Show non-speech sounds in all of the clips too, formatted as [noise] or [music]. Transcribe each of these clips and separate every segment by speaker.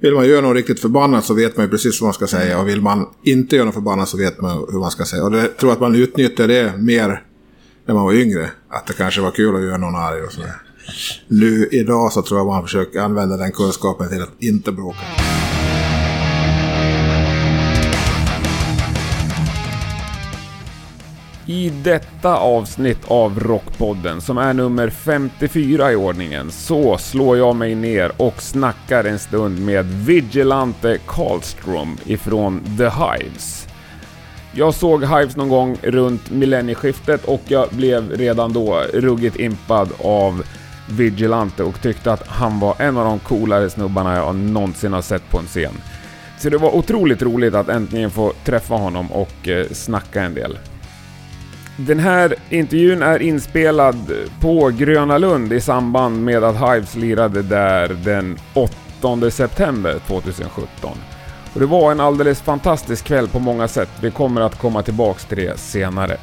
Speaker 1: Vill man göra något riktigt förbannat så vet man ju precis vad man ska säga. Och vill man inte göra något förbannat så vet man hur man ska säga. Och det, jag tror att man utnyttjar det mer när man var yngre. Att det kanske var kul att göra någon arg och sådär. Nu idag så tror jag man försöker använda den kunskapen till att inte bråka.
Speaker 2: I detta avsnitt av Rockpodden, som är nummer 54 i ordningen, så slår jag mig ner och snackar en stund med Vigilante Karlström ifrån The Hives. Jag såg Hives någon gång runt millennieskiftet och jag blev redan då ruggigt impad av Vigilante och tyckte att han var en av de coolare snubbarna jag någonsin har sett på en scen. Så det var otroligt roligt att äntligen få träffa honom och eh, snacka en del. Den här intervjun är inspelad på Gröna Lund i samband med att Hives lirade där den 8 september 2017. Och det var en alldeles fantastisk kväll på många sätt. Vi kommer att komma tillbaks till det senare.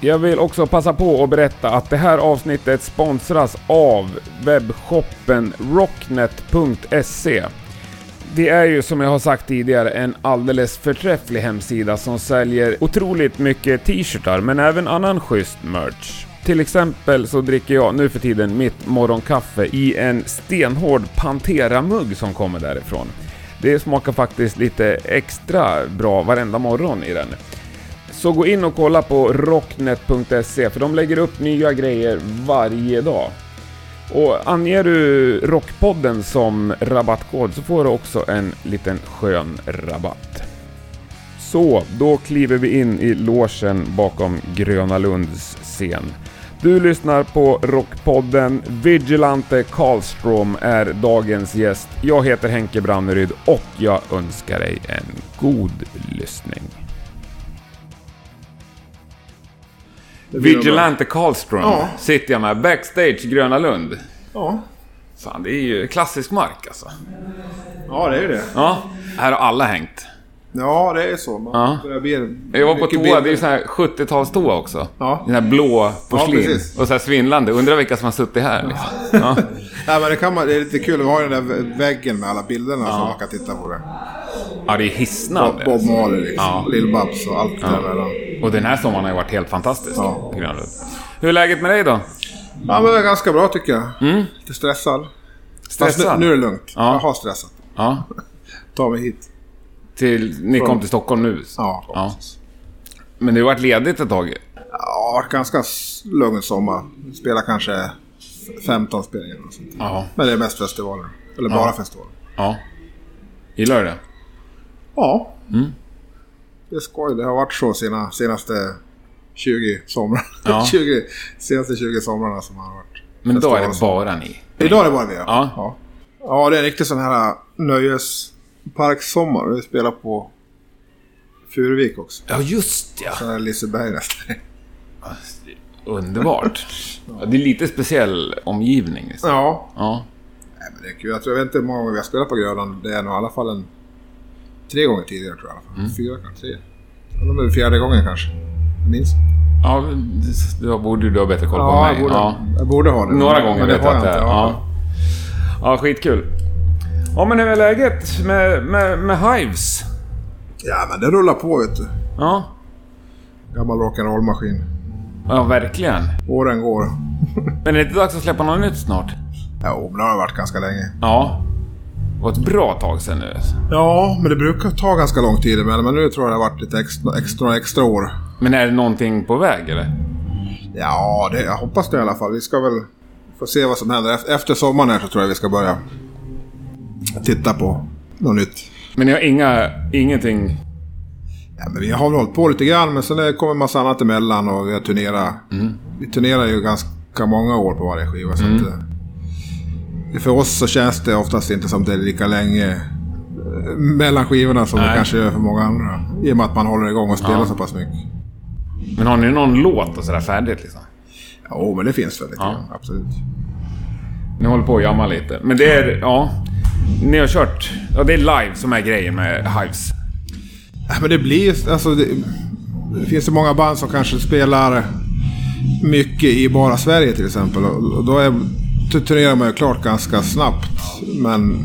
Speaker 2: Jag vill också passa på att berätta att det här avsnittet sponsras av webbshoppen rocknet.se. Det är ju som jag har sagt tidigare en alldeles förträfflig hemsida som säljer otroligt mycket t-shirtar men även annan schysst merch. Till exempel så dricker jag nu för tiden mitt morgonkaffe i en stenhård Pantera-mugg som kommer därifrån. Det smakar faktiskt lite extra bra varenda morgon i den. Så gå in och kolla på rocknet.se E, för de lägger upp nya grejer varje dag. Och anger du Rockpodden som rabattkod så får du också en liten skön rabatt. Så, då kliver vi in i logen bakom Gröna Lunds scen. Du lyssnar på Rockpodden. Vigilante Karlström är dagens gäst. Jag heter Henke Branneryd och jag önskar dig en god lyssning. Vigilante Karlström
Speaker 1: Ja.
Speaker 2: sitter jag med backstage Gröna Lund.
Speaker 1: Ja.
Speaker 2: Fan, det är ju klassisk mark alltså.
Speaker 1: ja, det är ju det.
Speaker 2: Ja, här har alla hängt.
Speaker 1: Ja, det är så. Man
Speaker 2: Ja.
Speaker 1: börjar bli-
Speaker 2: Jag var på
Speaker 1: mycket
Speaker 2: toa, det är
Speaker 1: bilder.
Speaker 2: ju sån här 70-talstoa också.
Speaker 1: Ja.
Speaker 2: Den här blå porslin.
Speaker 1: precis.
Speaker 2: och så här svindlande. Undrar vilka som har suttit här liksom.
Speaker 1: [laughs]
Speaker 2: ja.
Speaker 1: Nej, men det, kan man, det är lite kul. Vi har ju den där vä- väggen med alla bilderna som man kan titta på. Det.
Speaker 2: ja, det är hisnande.
Speaker 1: Bob Marley liksom.
Speaker 2: Ja.
Speaker 1: Lill-Babs och allt det där. mellan.
Speaker 2: Och den här sommaren har ju varit helt fantastisk.
Speaker 1: Ja.
Speaker 2: på Grönlund. Hur är läget med dig då?
Speaker 1: Ja, men det är ganska bra tycker jag. Lite stressad. Fast
Speaker 2: Mm. Stressad?
Speaker 1: Nu, nu är det lugnt.
Speaker 2: Ja.
Speaker 1: Jag har stressat.
Speaker 2: Ja.
Speaker 1: Ta mig hit.
Speaker 2: Till, ni kom till Stockholm nu?
Speaker 1: Ja.
Speaker 2: ja. Men det har varit ledigt ett tag.
Speaker 1: Ja, ganska s- lugn sommar. Spelar kanske f- 15 spelningar och sånt.
Speaker 2: Ja.
Speaker 1: Men det är mest festivaler. Eller bara festivaler.
Speaker 2: ja. Gillar du det?
Speaker 1: Ja.
Speaker 2: Mm.
Speaker 1: Det är skoj. Det har varit så sina, senaste 20 somrar. [laughs]
Speaker 2: Ja.
Speaker 1: 20, senaste 20 somrarna som har varit.
Speaker 2: Men då är det
Speaker 1: festivaler.
Speaker 2: bara ni.
Speaker 1: Idag är det bara vi. Ja.
Speaker 2: Ja.
Speaker 1: Ja. ja, det är en riktig sån här nöjesparkssommar. Vi spelar på Furuvik också.
Speaker 2: Ja, just ja.
Speaker 1: Sen är det Liseberg nästa [laughs]
Speaker 2: Underbart. Ja, det är lite speciell omgivning. Liksom.
Speaker 1: Ja.
Speaker 2: Ja.
Speaker 1: Nej, men det är kul. Jag tror jag vet inte hur många gånger vi har spelat på Grönan. Det är nog i alla fall en... Tre gånger tidigare tror jag. I alla fall.
Speaker 2: Mm.
Speaker 1: Fyra kanske. Tre. Eller om det är fjärde gången kanske. Jag minns
Speaker 2: Ja, det- då borde du ha bättre koll på mig.
Speaker 1: jag borde,
Speaker 2: Ja.
Speaker 1: jag borde ha det.
Speaker 2: Några
Speaker 1: Men-
Speaker 2: gånger
Speaker 1: men det
Speaker 2: vet
Speaker 1: har
Speaker 2: jag att det är.
Speaker 1: inte.
Speaker 2: Ja. ja, skitkul. Ja, men hur är läget med, med, med Hives?
Speaker 1: ja, men det rullar på vet du.
Speaker 2: Ja.
Speaker 1: Gammal rock'n'roll-maskin.
Speaker 2: ja, verkligen.
Speaker 1: Åren går.
Speaker 2: Men är det inte dags att släppa något nytt snart?
Speaker 1: Jo, men det har varit ganska länge.
Speaker 2: Ja. Det var ett bra tag sedan nu.
Speaker 1: Ja, men det brukar ta ganska lång tid emellan. Men nu tror jag det har varit lite extra, extra, extra år.
Speaker 2: Men är det någonting på väg eller?
Speaker 1: Ja, det, jag hoppas det i alla fall. Vi ska väl få se vad som händer. Ef- Efter sommaren här så tror jag vi ska börja titta på något nytt.
Speaker 2: Men jag har inga, ingenting...
Speaker 1: Ja, men vi har väl hållit på lite grann, men sen eh, kommer en massa annat emellan och vi har turnerat. Vi turnerar ju ganska många år på varje skiva. Så att, eh, för oss så känns det oftast inte som det är lika länge eh, mellan skivorna som det
Speaker 2: Nej.
Speaker 1: kanske är för många andra. I och med att man håller igång och spelar så pass mycket.
Speaker 2: Men har ni någon låt och sådär färdigt liksom?
Speaker 1: Jo, men det finns väl lite grann, absolut.
Speaker 2: Ni håller på och jammar lite. Men det är... Ja. Ni har kört... Ja, det är live som är grejen med Hives.
Speaker 1: Ja, Men det blir alltså det, det finns ju många band som kanske spelar mycket i bara Sverige till exempel. Och och då är, då turnerar man ju klart ganska snabbt. Men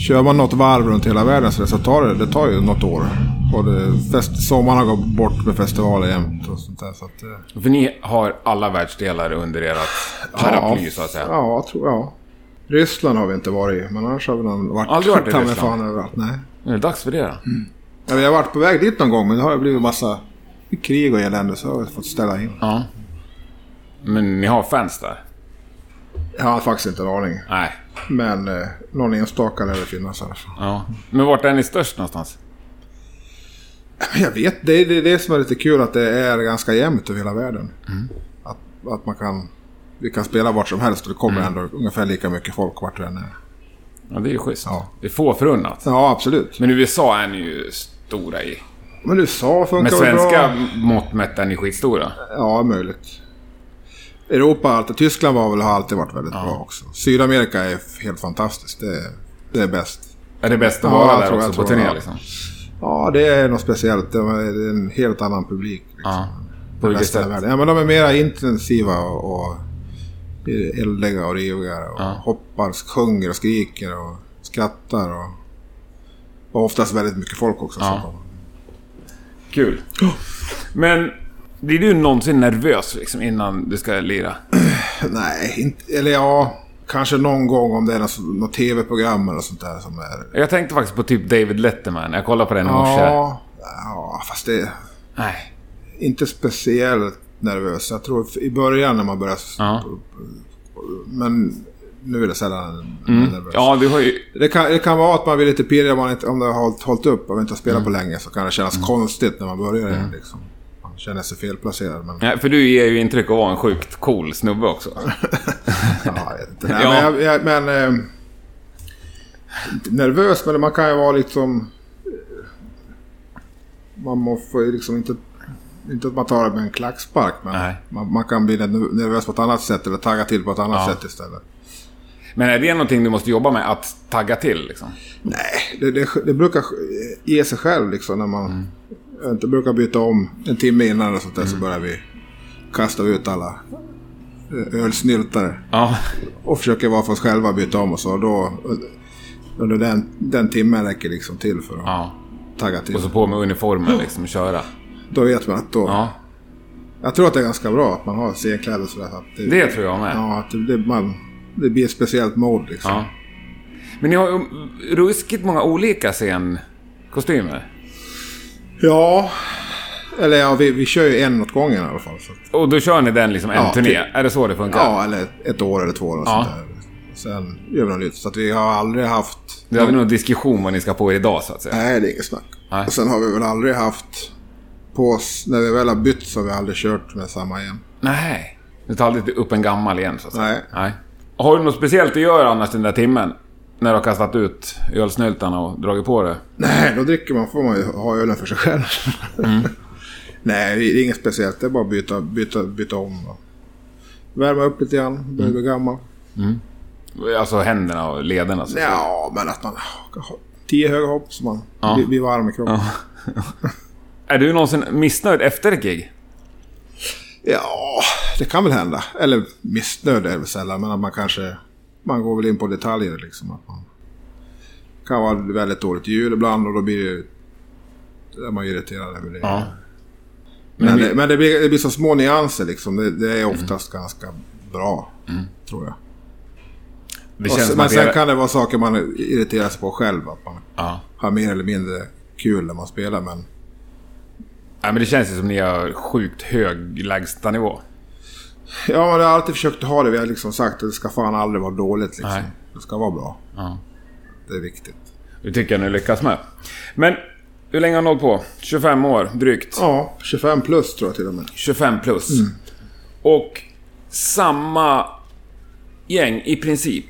Speaker 1: Kör man något varv runt hela världen så, det, så tar det, det tar ju något år. Och det, fest, sommaren har gått bort med festivaler jämt och sånt där. Så att, eh,
Speaker 2: För ni har alla världsdelar under ert paraply så att säga.
Speaker 1: Ja, jag tror jag. Ryssland har vi inte varit i, men annars har vi nog varit...
Speaker 2: Aldrig varit
Speaker 1: [laughs]
Speaker 2: i
Speaker 1: ta mig
Speaker 2: Ryssland.
Speaker 1: fan överallt, nej.
Speaker 2: Nu är det dags för det då.
Speaker 1: Ja, vi har varit på väg dit någon gång, men det har blivit massa krig och elände så har vi fått ställa in.
Speaker 2: Ja. Men ni har fans där?
Speaker 1: Jag har faktiskt inte en aning,
Speaker 2: Nej.
Speaker 1: men eh, någon enstaka lär det finnas i alla fall. [laughs]
Speaker 2: Ja. Men vart är ni störst någonstans?
Speaker 1: Men Jag vet, det är det, är det som är lite kul att det är ganska jämnt över hela världen.
Speaker 2: Mm.
Speaker 1: Att, att man kan, vi kan spela vart som helst och det kommer
Speaker 2: Mm.
Speaker 1: ändå ungefär lika mycket folk vart vi än är.
Speaker 2: Ja, det är ju schysst.
Speaker 1: Ja.
Speaker 2: Det är få förunnat.
Speaker 1: Ja, absolut.
Speaker 2: Men USA är ni ju stora i.
Speaker 1: Men USA
Speaker 2: Med
Speaker 1: funkar väl
Speaker 2: svenska
Speaker 1: bra.
Speaker 2: mått mätt är ni skitstora.
Speaker 1: Ja, möjligt. Europa, har alltid, Tyskland var väl, har alltid varit väldigt bra också. Sydamerika är f- helt fantastiskt. Det är, det är bäst.
Speaker 2: Är det bäst att
Speaker 1: Ja,
Speaker 2: vara
Speaker 1: jag
Speaker 2: där
Speaker 1: tror- jag
Speaker 2: också på
Speaker 1: tror det,
Speaker 2: turné
Speaker 1: ja.
Speaker 2: liksom?
Speaker 1: Ja, det är något speciellt. Det är en helt annan publik. Liksom.
Speaker 2: Ja. På vilket
Speaker 1: Resten av
Speaker 2: sätt?
Speaker 1: världen. Ja, men de är mera intensiva och, och eldiga och riviga och hoppar, sjunger och skriker och skrattar. Och, och oftast väldigt mycket folk också. Så.
Speaker 2: Kul. Men blir du någonsin nervös liksom innan du ska lira?
Speaker 1: [laughs] Nej, inte, eller ja, kanske någon gång om det är något, något tv-program eller sånt där som är...
Speaker 2: Jag tänkte faktiskt på typ David Letterman. Jag kollade på den i morse.
Speaker 1: Ja, ja, fast det är
Speaker 2: Nej.
Speaker 1: inte speciellt nervös. Jag tror i början när man börjar...
Speaker 2: Ja.
Speaker 1: Men nu är det sällan nervös.
Speaker 2: Mm. Ja, du har ju...
Speaker 1: Det kan, det kan vara att man blir lite pirrig om, man inte, om det har hållit, hållit upp och inte har
Speaker 2: Mm.
Speaker 1: spelat på länge. Så kan det kännas konstigt när man börjar igen. Liksom. Man känner sig felplacerad. Men,
Speaker 2: Nej, för du ger ju intryck av att vara en sjukt cool snubbe också.
Speaker 1: ja, jag vet inte. Nej,
Speaker 2: Ja.
Speaker 1: men, jag, jag, men eh, inte nervös, men man kan ju vara liksom... eh, Man må- får ju liksom inte... Inte att man tar det med en klackspark, men
Speaker 2: Nej.
Speaker 1: man, man kan bli nervös på ett annat sätt eller tagga till på ett annat
Speaker 2: Ja.
Speaker 1: sätt istället.
Speaker 2: Men är det någonting du måste jobba med? Att tagga till liksom?
Speaker 1: Nej, det, det, det brukar ge sig själv liksom när man
Speaker 2: Mm.
Speaker 1: inte brukar byta om en timme innan och sånt där så börjar vi kasta ut alla eh, ölsnyltare
Speaker 2: Ja.
Speaker 1: och försöker vara för oss själva byta om och så. Då, under den, den timmen räcker liksom till för att
Speaker 2: ja.
Speaker 1: tagga till.
Speaker 2: Och så på med uniformen liksom och köra.
Speaker 1: Då vet man att då...
Speaker 2: Ja.
Speaker 1: Jag tror att det är ganska bra att man har scenkläder sådär. Att det,
Speaker 2: Det tror jag med.
Speaker 1: Ja, att det, det, man, det blir ett speciellt mode liksom.
Speaker 2: Ja. Men ni har ju ruskigt många olika scenkostymer.
Speaker 1: Ja, eller ja, vi, vi kör ju en åt gången i alla fall. Så att,
Speaker 2: Och då kör ni den liksom en
Speaker 1: Ja,
Speaker 2: turné?
Speaker 1: typ.
Speaker 2: Är det så det funkar?
Speaker 1: Ja, eller ett år eller två år och
Speaker 2: Ja.
Speaker 1: sånt där. Sen gör vi något nytt. Så att vi har aldrig haft...
Speaker 2: Vi hade någon diskussion vad ni ska på er idag så att säga.
Speaker 1: Nej, det är inget snack.
Speaker 2: Nej.
Speaker 1: Och sen har vi väl aldrig haft på oss... När vi väl har bytt så har vi aldrig kört med samma igen.
Speaker 2: Nej. Du tar aldrig upp en gammal igen så att säga.
Speaker 1: Nej.
Speaker 2: Har du något speciellt att göra annars den där timmen? När du har kastat ut ölsnyltarna och dragit på det?
Speaker 1: Nej, då dricker man får man ju ha ölen för sig själv. [laughs] Nej, det är inget speciellt. Det är bara att byta, byta, byta om. och Värma upp lite grann. Börja bli gammal.
Speaker 2: Alltså händerna och lederna. Så. att säga.
Speaker 1: Ja, men att man... Tio höga hopp så man blir, blir varm i kroppen.
Speaker 2: Är du någonsin missnöjd efter ett gig?
Speaker 1: Ja, det kan väl hända. Eller missnöjd är väl sällan, men att man kanske... Man går väl in på detaljer liksom. Att man det kan vara väldigt dåligt ljud ibland och då blir det... ju- Då är man ju irriterad över det. Men, det, men det, blir, det blir så små nyanser liksom. Det, det är oftast ganska bra, tror jag.
Speaker 2: Mm. Det
Speaker 1: Och
Speaker 2: känns
Speaker 1: sen,
Speaker 2: som
Speaker 1: men
Speaker 2: att
Speaker 1: sen
Speaker 2: det...
Speaker 1: kan det vara saker man irriterar sig på själv. Att man
Speaker 2: Ja.
Speaker 1: har mer eller mindre kul när man spelar, men...
Speaker 2: Nej, men det känns ju som ni har sjukt hög lägstanivå.
Speaker 1: Ja, men jag har alltid försökt ha det. Vi har liksom sagt att det ska fan aldrig vara dåligt. Liksom.
Speaker 2: Nej.
Speaker 1: Det ska vara bra.
Speaker 2: Ja.
Speaker 1: Det är viktigt.
Speaker 2: Det tycker jag ni lyckas med. Men hur länge har ni hållit på? 25 år drygt.
Speaker 1: Ja, 25 plus tror jag till och med.
Speaker 2: 25 plus. Och samma gäng i princip.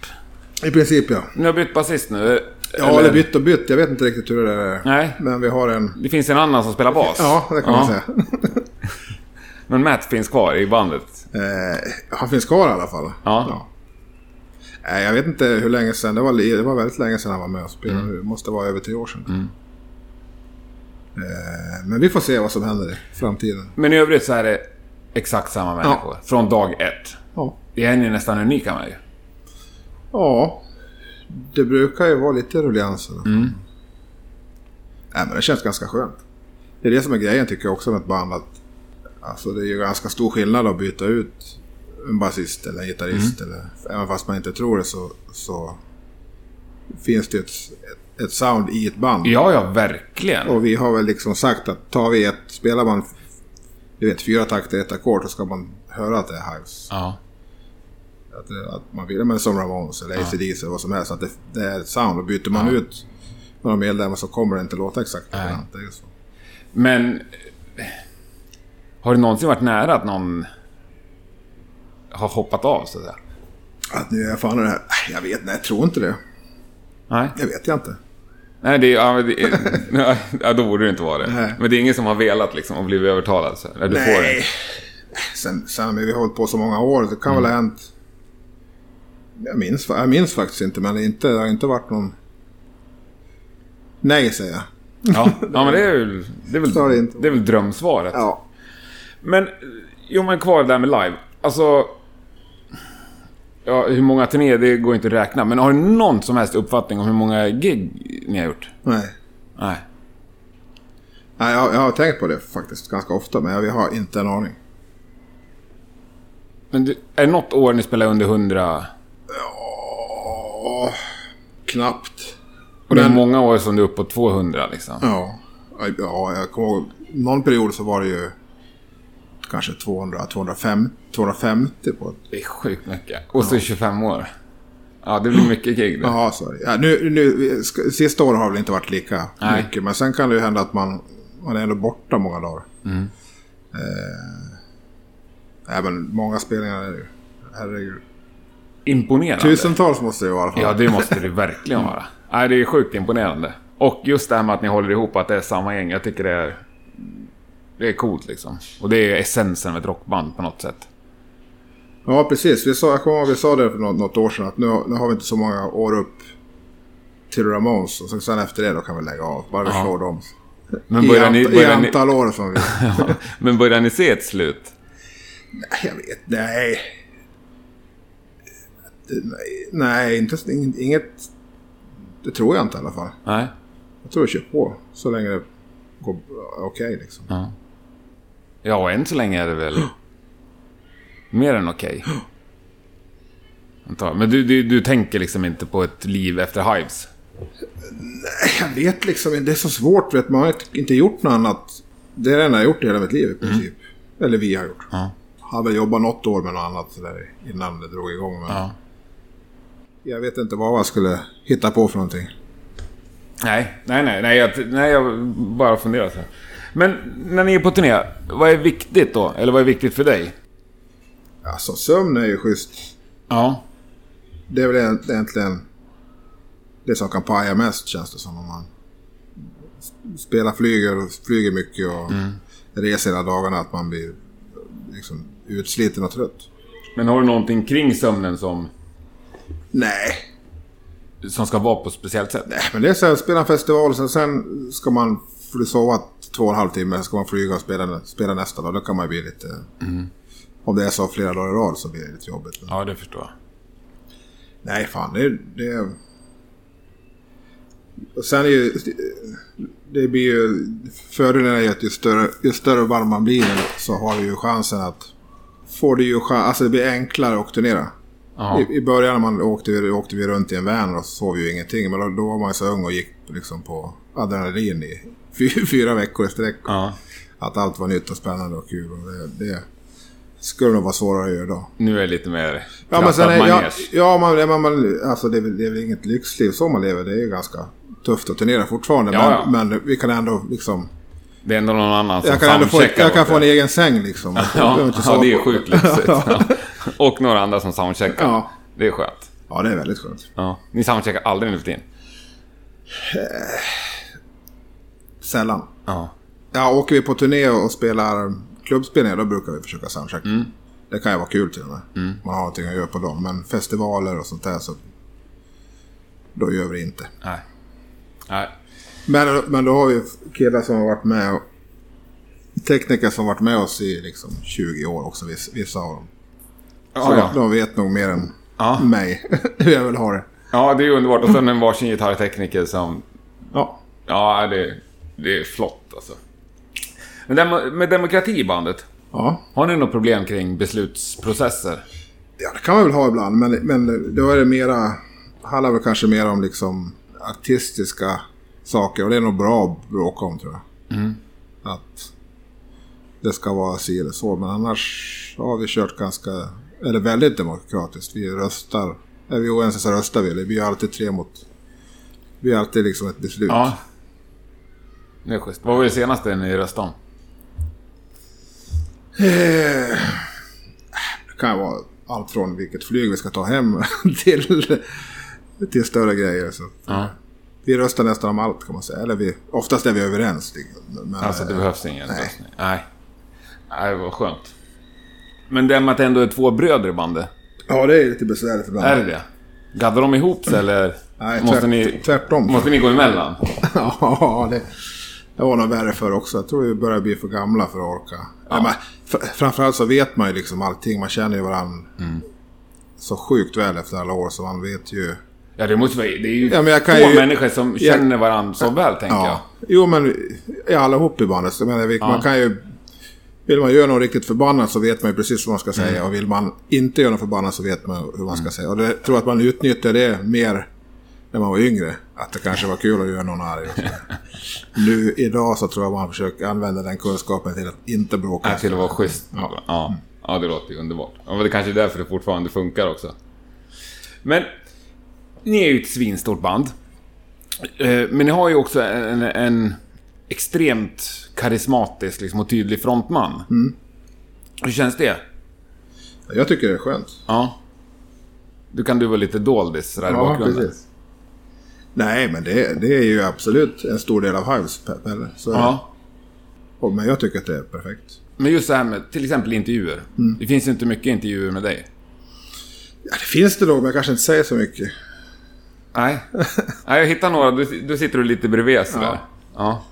Speaker 1: I princip ja.
Speaker 2: Ni har bytt basist nu.
Speaker 1: Ja, eller bytt och bytt. Jag vet inte riktigt hur det där är.
Speaker 2: Nej.
Speaker 1: Men vi har en...
Speaker 2: Det finns en annan som spelar bas.
Speaker 1: Ja, det kan man säga.
Speaker 2: Men Matt finns kvar i bandet.
Speaker 1: Eh, han finns kvar i alla fall.
Speaker 2: Ja.
Speaker 1: Nej, jag vet inte hur länge sedan. Det var, det var väldigt länge sedan han var med och spelade.
Speaker 2: Mm.
Speaker 1: Det måste vara över tre år sedan. Eh, men vi får se vad som händer i framtiden.
Speaker 2: Men i övrigt så är det exakt samma människor. Från dag ett.
Speaker 1: Ja.
Speaker 2: Det är ni nästan unika med ju.
Speaker 1: Ja. Det brukar ju vara lite ruljans. Mm. Nej, men det känns ganska skönt. Det är det som är grejen tycker jag också med ett band. Att, alltså, det är ju ganska stor skillnad att byta ut en basist eller en gitarrist. Eller, även fast man inte tror det så, så finns det ett, ett, ett sound i ett band.
Speaker 2: Ja, ja, verkligen.
Speaker 1: Och vi har väl liksom sagt att tar vi ett, spelar man du vet, fyra takter, ett ackord, så ska man höra att det är Hives.
Speaker 2: Ja.
Speaker 1: Att, det- att man vill, men som Ramones eller AC/DC eller vad som helst, att det, det är ett sound. Och byter man ut några medlemmar så kommer det inte låta exakt likadant. Det är ju så.
Speaker 2: Men eh, har det någonsin varit nära att någon har hoppat av så att säga?
Speaker 1: Att nu är jag fan i det här. Äh, Jag vet, nej jag tror inte det.
Speaker 2: Nej,
Speaker 1: Jag vet jag inte.
Speaker 2: nej det, är- ja,
Speaker 1: [laughs]
Speaker 2: men det, nej, ja, då borde det inte vara det.
Speaker 1: Nej.
Speaker 2: Men det är ingen som har velat liksom och blivit övertalad. Så. här, Du får det.
Speaker 1: Sen, sen har vi har hållit på så många år, det kan väl
Speaker 2: Mm.
Speaker 1: ha hänt. Jag minns, fa- jag minns faktiskt inte, men det, är inte, det har inte varit någon... Nej, säger jag.
Speaker 2: Ja, ja men det är väl, det är
Speaker 1: Förstår det
Speaker 2: väl,
Speaker 1: inte.
Speaker 2: det är väl drömsvaret.
Speaker 1: Ja.
Speaker 2: Men, jo men kvar det där med live. Alltså... Ja, hur många turnéer, det går inte att räkna. Men har du någon som helst uppfattning om hur många gig ni har gjort?
Speaker 1: Nej.
Speaker 2: Nej.
Speaker 1: nej jag, jag har tänkt på det faktiskt ganska ofta, men jag har inte en aning.
Speaker 2: Men du, är det något år ni spelar under 100?
Speaker 1: Åh, knappt.
Speaker 2: Och det är många år som du är uppe på 200 liksom.
Speaker 1: Ja. ja, jag kommer ihåg. Någon period så var det ju kanske 200, 205, 250 på ett...
Speaker 2: Det är sjukt mycket. Och så 25 år. Ja, det blir mycket gig det.
Speaker 1: Jaha, sorry. Ja, nu, nu, ska- sista året har väl inte varit lika
Speaker 2: Nej.
Speaker 1: mycket, men sen kan det ju hända att man, man är ändå borta många dagar. Mm. Eh, nej, men många spelningar är det ju. Herregud.
Speaker 2: Imponerande.
Speaker 1: Tusentals måste det ju vara i alla fall.
Speaker 2: Ja, det måste det verkligen vara. Nej, det är sjukt imponerande. Och just det här med att ni håller ihop, att det är samma gäng. Jag tycker det är... Det är coolt liksom. Och det är essensen med ett rockband på något sätt.
Speaker 1: Ja, precis. Vi sa, jag kommer ihåg vi sa det för något, något år sedan att nu, har- nu har vi inte så många år upp till Ramones. Och sen, sen efter det då kan vi lägga av. Bara vi slår dem.
Speaker 2: Men
Speaker 1: I,
Speaker 2: börjar, ni,
Speaker 1: ant, i
Speaker 2: börjar, ni,
Speaker 1: antal år som vi...
Speaker 2: ja, men börjar ni se ett slut?
Speaker 1: Nej, jag vet. Nej. Det- nej, Nej, inte, ing- inget... Det tror jag inte i alla fall.
Speaker 2: Nej.
Speaker 1: Jag tror vi kör på så länge det går bra- okej liksom.
Speaker 2: Ja, och än så länge är det väl... Mer än okej. Antar jag. Men du, du, du tänker liksom inte på ett liv efter Hives?
Speaker 1: Jag vet liksom inte. Det är så svårt. Vet, man har inte- inte gjort något annat. Det är det enda jag har gjort i hela mitt liv i princip. Eller vi har gjort.
Speaker 2: Mm. Ja.
Speaker 1: Har väl jobbat något år med något annat sådär innan det drog igång. Men
Speaker 2: Ja.
Speaker 1: Jag vet inte vad man skulle hitta på för någonting.
Speaker 2: Nej, nej, nej. Nej, jag, nej, jag bara funderar så här. Men när ni är på turné, vad är viktigt då? Eller vad är viktigt för dig?
Speaker 1: Alltså sömn är ju schysst.
Speaker 2: Ja.
Speaker 1: Det är väl egent- egentligen det som kan paja mest känns det som. Om man s- spelar, flyger, och flyger mycket och
Speaker 2: Mm.
Speaker 1: reser hela dagarna. Att man blir liksom utsliten och trött.
Speaker 2: Men har du någonting kring sömnen som,
Speaker 1: Nej,
Speaker 2: som ska vara på ett speciellt sätt?
Speaker 1: Nej, men det är så här, spela en festival sen, sen ska man få sova två och en halv timme, sen ska man flyga och spela, spela nästa dag. Då kan man ju bli lite... Om det är så flera dagar i rad så blir det lite jobbigt. Men,
Speaker 2: Ja, det förstår jag.
Speaker 1: Nej, fan det, det... Och sen är ju... Det blir ju... Fördelen är ju att ju större, ju större och varm man blir så har du ju chansen att... Får du ju chans, Alltså det blir enklare att turnera.
Speaker 2: Ja.
Speaker 1: I, I början när man åkte, vi- åkte vi runt i en van och sov vi ju ingenting. Men då, då var man ju så ung och gick liksom på adrenalin i fy- [laughs] fyra veckor i sträck.
Speaker 2: ja.
Speaker 1: Att allt var nytt och spännande och kul. Och det, det skulle nog vara svårare att göra idag.
Speaker 2: Nu är det lite mer
Speaker 1: Ja, men sen
Speaker 2: trappad
Speaker 1: är, ja,
Speaker 2: manege.
Speaker 1: ja man, ja, man, man, alltså det, är väl- det är väl inget lyxliv som man lever. Det är ju ganska tufft att turnera fortfarande.
Speaker 2: Ja,
Speaker 1: men, men vi kan ändå liksom...
Speaker 2: Det är ändå någon annan som
Speaker 1: Jag kan ändå få,
Speaker 2: soundcheckar
Speaker 1: jag kan
Speaker 2: åt
Speaker 1: få en
Speaker 2: er.
Speaker 1: egen säng liksom. Jag behöver
Speaker 2: [laughs] Ja,
Speaker 1: inte
Speaker 2: ja,
Speaker 1: sova
Speaker 2: det är
Speaker 1: på- [laughs]
Speaker 2: sjukt lyxigt. Ja. Och några andra som soundcheckar.
Speaker 1: Ja.
Speaker 2: Det är skönt.
Speaker 1: Ja, det är väldigt skönt.
Speaker 2: Ja. Ni soundcheckar aldrig nu för tiden?
Speaker 1: Sällan.
Speaker 2: Ja.
Speaker 1: Ja, åker vi på turné och spelar klubbspelningar då brukar vi försöka soundchecka.
Speaker 2: Mm.
Speaker 1: Det kan ju vara kul till och med. Man har någonting att göra på dem. Men festivaler och sånt där så... Då gör vi det inte.
Speaker 2: Nej. Nej.
Speaker 1: Men, men då har vi killar som har varit med och... Tekniker som har varit med oss i liksom 20 år också, viss- vissa av dem. Så
Speaker 2: Ja, ja.
Speaker 1: de vet nog mer än
Speaker 2: Ja.
Speaker 1: mig [laughs] hur jag vill ha det.
Speaker 2: Ja, det är underbart. Och sen en varsin gitarrtekniker som...
Speaker 1: Ja.
Speaker 2: Ja, det, det är flott alltså. Men dem- med demokrati i bandet,
Speaker 1: ja.
Speaker 2: har ni något problem kring beslutsprocesser?
Speaker 1: Ja, det kan man väl ha ibland, men, men då är det mera... Handlar väl kanske mer om liksom artistiska saker och det är nog bra att bråka om tror jag. Att det ska vara si eller så, men annars har vi kört ganska... Eller väldigt demokratiskt. Vi röstar... Är vi oense så röstar vi. eller Vi är alltid tre mot... Vi är alltid liksom ett beslut.
Speaker 2: Ja. Det är schysst. Vad var det senaste ni röstade om?
Speaker 1: Eh, Det kan ju vara allt från vilket flyg vi ska ta hem [laughs] till, till större grejer. Så. att- eh,
Speaker 2: Ja.
Speaker 1: Vi röstar nästan om allt kan man säga. Eller vi, oftast är vi överens. liksom. Men,
Speaker 2: Alltså det
Speaker 1: eh,
Speaker 2: behövs ingen röstning? Nej. Nej, vad skönt. Men det med att det ändå är två bröder i bandet.
Speaker 1: Ja, det är lite besvärligt ibland.
Speaker 2: Är det det? Gaddar de ihop sig eller?
Speaker 1: Nej,
Speaker 2: måste,
Speaker 1: tvärt,
Speaker 2: ni,
Speaker 1: tvärtom.
Speaker 2: måste ni gå emellan?
Speaker 1: [laughs] ja, det, det var nog värre för också. Jag tror vi börjar bli för gamla för att orka. Ja. Men, fr- framförallt så vet man ju liksom allting. Man känner ju varandra
Speaker 2: Mm.
Speaker 1: så sjukt väl efter alla år. Så man vet ju...
Speaker 2: Ja, det måste vara... Det är ju
Speaker 1: Ja, men jag kan
Speaker 2: två
Speaker 1: ju-
Speaker 2: människor som
Speaker 1: jag-
Speaker 2: känner varandra så väl, tänker jag.
Speaker 1: Ja. Jo, men är allihop i bandet. Jag menar, vi- man kan ju... Vill man göra något riktigt förbannat så vet man ju precis vad man ska säga.
Speaker 2: Mm.
Speaker 1: Och vill man inte göra något förbannat så vet man hur man ska säga. Och det, jag tror att man utnyttjar det mer när man var yngre. Att det kanske var kul att göra någon
Speaker 2: [laughs]
Speaker 1: arg. och så. nu idag så tror jag man försöker använda den kunskapen till att inte bråka.
Speaker 2: Nej, till att vara schysst. Ja. Ja. det låter ju underbart. Ja, men det kanske är därför det fortfarande funkar också. Men, ni är ju ett svinstort band. Eh, Men ni har ju också en, en extremt karismatisk liksom, och tydlig frontman. Hur känns det?
Speaker 1: Jag tycker det är skönt.
Speaker 2: Ja. Du kan du vara lite doldis sådär i
Speaker 1: Ja,
Speaker 2: bakgrunden.
Speaker 1: precis. Nej, men det, det är ju absolut en stor del av Hives, Pe- Pelle. Så,
Speaker 2: Ja.
Speaker 1: och, men jag tycker att det är perfekt.
Speaker 2: Men just det här med till exempel intervjuer. Det finns ju inte mycket intervjuer med dig.
Speaker 1: Ja, det finns det nog, men jag kanske inte säger så mycket.
Speaker 2: Nej. Nej, jag hittar några. Du, du sitter du lite bredvid sådär. ja.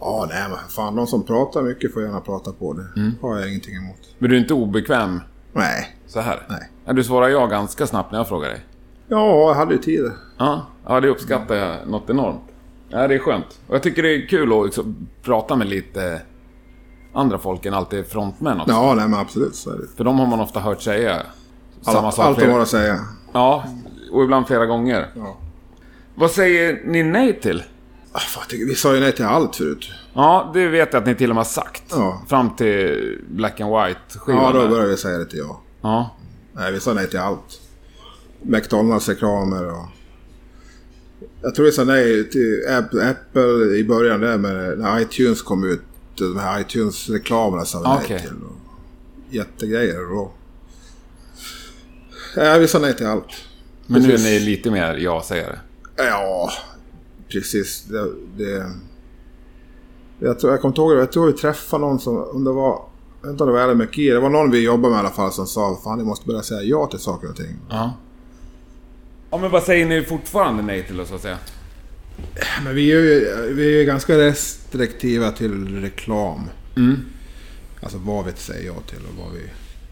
Speaker 1: Ja, nej men fan. De som pratar mycket får gärna prata på det. har jag ingenting emot.
Speaker 2: Men du är inte obekväm
Speaker 1: Nej.
Speaker 2: så här?
Speaker 1: Nej.
Speaker 2: Ja, du svarar ja ganska snabbt när jag frågar dig.
Speaker 1: Ja, jag hade ju tid.
Speaker 2: Ja, ja det uppskattar jag något enormt. Ja, det är skönt. Och jag tycker det är kul att liksom prata med lite andra folk än alltid frontmän också.
Speaker 1: Ja, nej men absolut. Så är det.
Speaker 2: För de har man ofta hört säga samma sak.
Speaker 1: Allt de
Speaker 2: flera-
Speaker 1: har att säga.
Speaker 2: Ja, och ibland flera gånger.
Speaker 1: Ja.
Speaker 2: Vad säger ni nej till?
Speaker 1: Ah, fan, jag tycker- vi sa ju nej till allt förut.
Speaker 2: Ja, det vet jag att ni till och med har sagt.
Speaker 1: Ja.
Speaker 2: Fram till Black and White-skivan.
Speaker 1: Ja, då
Speaker 2: där.
Speaker 1: började vi säga det till ja.
Speaker 2: ja.
Speaker 1: Nej, vi sa nej till allt. McDonalds-reklamer och... Jag tror vi sa nej till App- Apple i början där med, när iTunes kom ut. De här iTunes-reklamerna sa vi nej
Speaker 2: Okej.
Speaker 1: till. Och jättegrejer. Och... Nej, vi sa nej till allt.
Speaker 2: Men nu är
Speaker 1: Precis.
Speaker 2: ni lite mer ja-sägare.
Speaker 1: Ja, precis. Det, det, jag, tror, jag kommer inte ihåg det. Jag tror vi träffade någon som, om det var, jag vet inte om det var Alan McGee, det var någon vi jobbade med i alla fall som sa fan ni måste börja säga ja till saker och ting.
Speaker 2: Ja. Ja, men vad säger ni fortfarande nej till då, så att säga?
Speaker 1: Men vi är ju vi är ju ganska restriktiva till reklam.
Speaker 2: Mm.
Speaker 1: Alltså vad vi säger ja till och vad vi...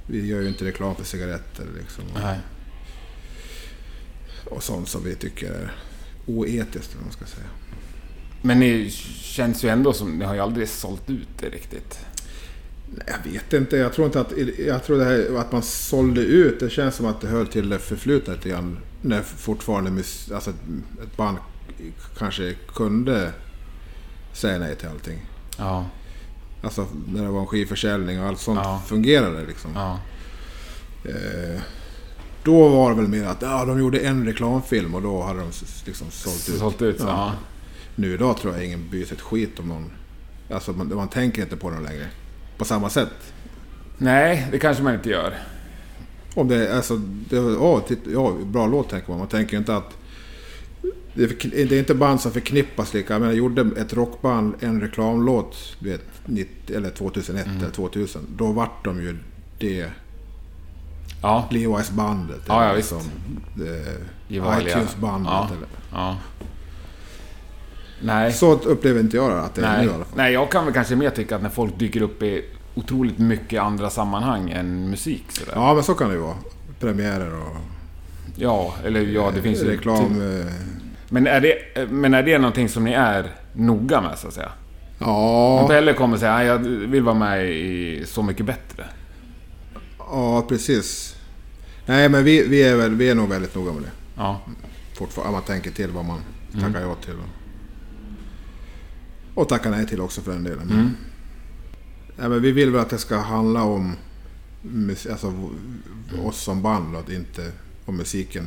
Speaker 1: Vi gör ju inte reklam för cigaretter liksom.
Speaker 2: Nej.
Speaker 1: Och sånt som vi tycker är oetiskt, eller vad man ska säga.
Speaker 2: Men ni känns ju ändå som... Ni har ju aldrig sålt ut det riktigt.
Speaker 1: Jag vet inte. Jag tror inte att, jag tror det här, att man sålde ut. Det känns som att det hör till det förflutna lite grann. När fortfarande mus, alltså ett, ett band kanske kunde säga nej till allting.
Speaker 2: Ja.
Speaker 1: Alltså när det var en skivförsäljning och allt sånt
Speaker 2: Ja.
Speaker 1: fungerade liksom.
Speaker 2: Ja.
Speaker 1: Eh, då var det väl mer att ja, de gjorde en reklamfilm och då hade de s- liksom sålt ut.
Speaker 2: Sålt ut, så. Ja.
Speaker 1: Nu idag tror jag ingen bryr sig ett skit om någon. Alltså man, man tänker inte på dem längre. På samma sätt.
Speaker 2: Nej, det kanske man inte gör.
Speaker 1: Om det, alltså, det, ja, titt, ja, bra låt tänker man. Man tänker ju inte att... Det är, förk- det är inte band som förknippas lika. Jag menar, gjorde ett rockband en reklamlåt du vet, 90, eller 2001
Speaker 2: Mm.
Speaker 1: eller 2000. Då vart de ju det
Speaker 2: Ja.
Speaker 1: Levi's-bandet.
Speaker 2: Ja,
Speaker 1: eller liksom,
Speaker 2: ja, visst.
Speaker 1: eh,
Speaker 2: Gevalia.
Speaker 1: iTunes-bandet.
Speaker 2: Ja.
Speaker 1: Eller.
Speaker 2: Ja. Nej.
Speaker 1: Så upplever inte jag det att det är
Speaker 2: Nej.
Speaker 1: nu i alla fall.
Speaker 2: Nej, jag kan väl kanske mer tycka att när folk dyker upp i otroligt mycket andra sammanhang än musik sådär.
Speaker 1: Ja, men så kan det ju vara. Premiärer och...
Speaker 2: Ja, eller ja, det finns ju... typ-
Speaker 1: Reklam... eh,
Speaker 2: Men är, det, men är det någonting som ni är noga med, så att säga?
Speaker 1: Ja,
Speaker 2: Pelle kommer säga, "Nej, jag vill vara med i Så Mycket Bättre.
Speaker 1: ja, precis. Nej, men vi, vi, är väl, vi är nog väldigt noga med det.
Speaker 2: Ja.
Speaker 1: Fortfarande, man tänker till vad man tackar ja till. Och, och tackar nej till också för den delen.
Speaker 2: Mm.
Speaker 1: Nej, men vi vill väl att det ska handla om mus- alltså, v- oss som band och att inte om musiken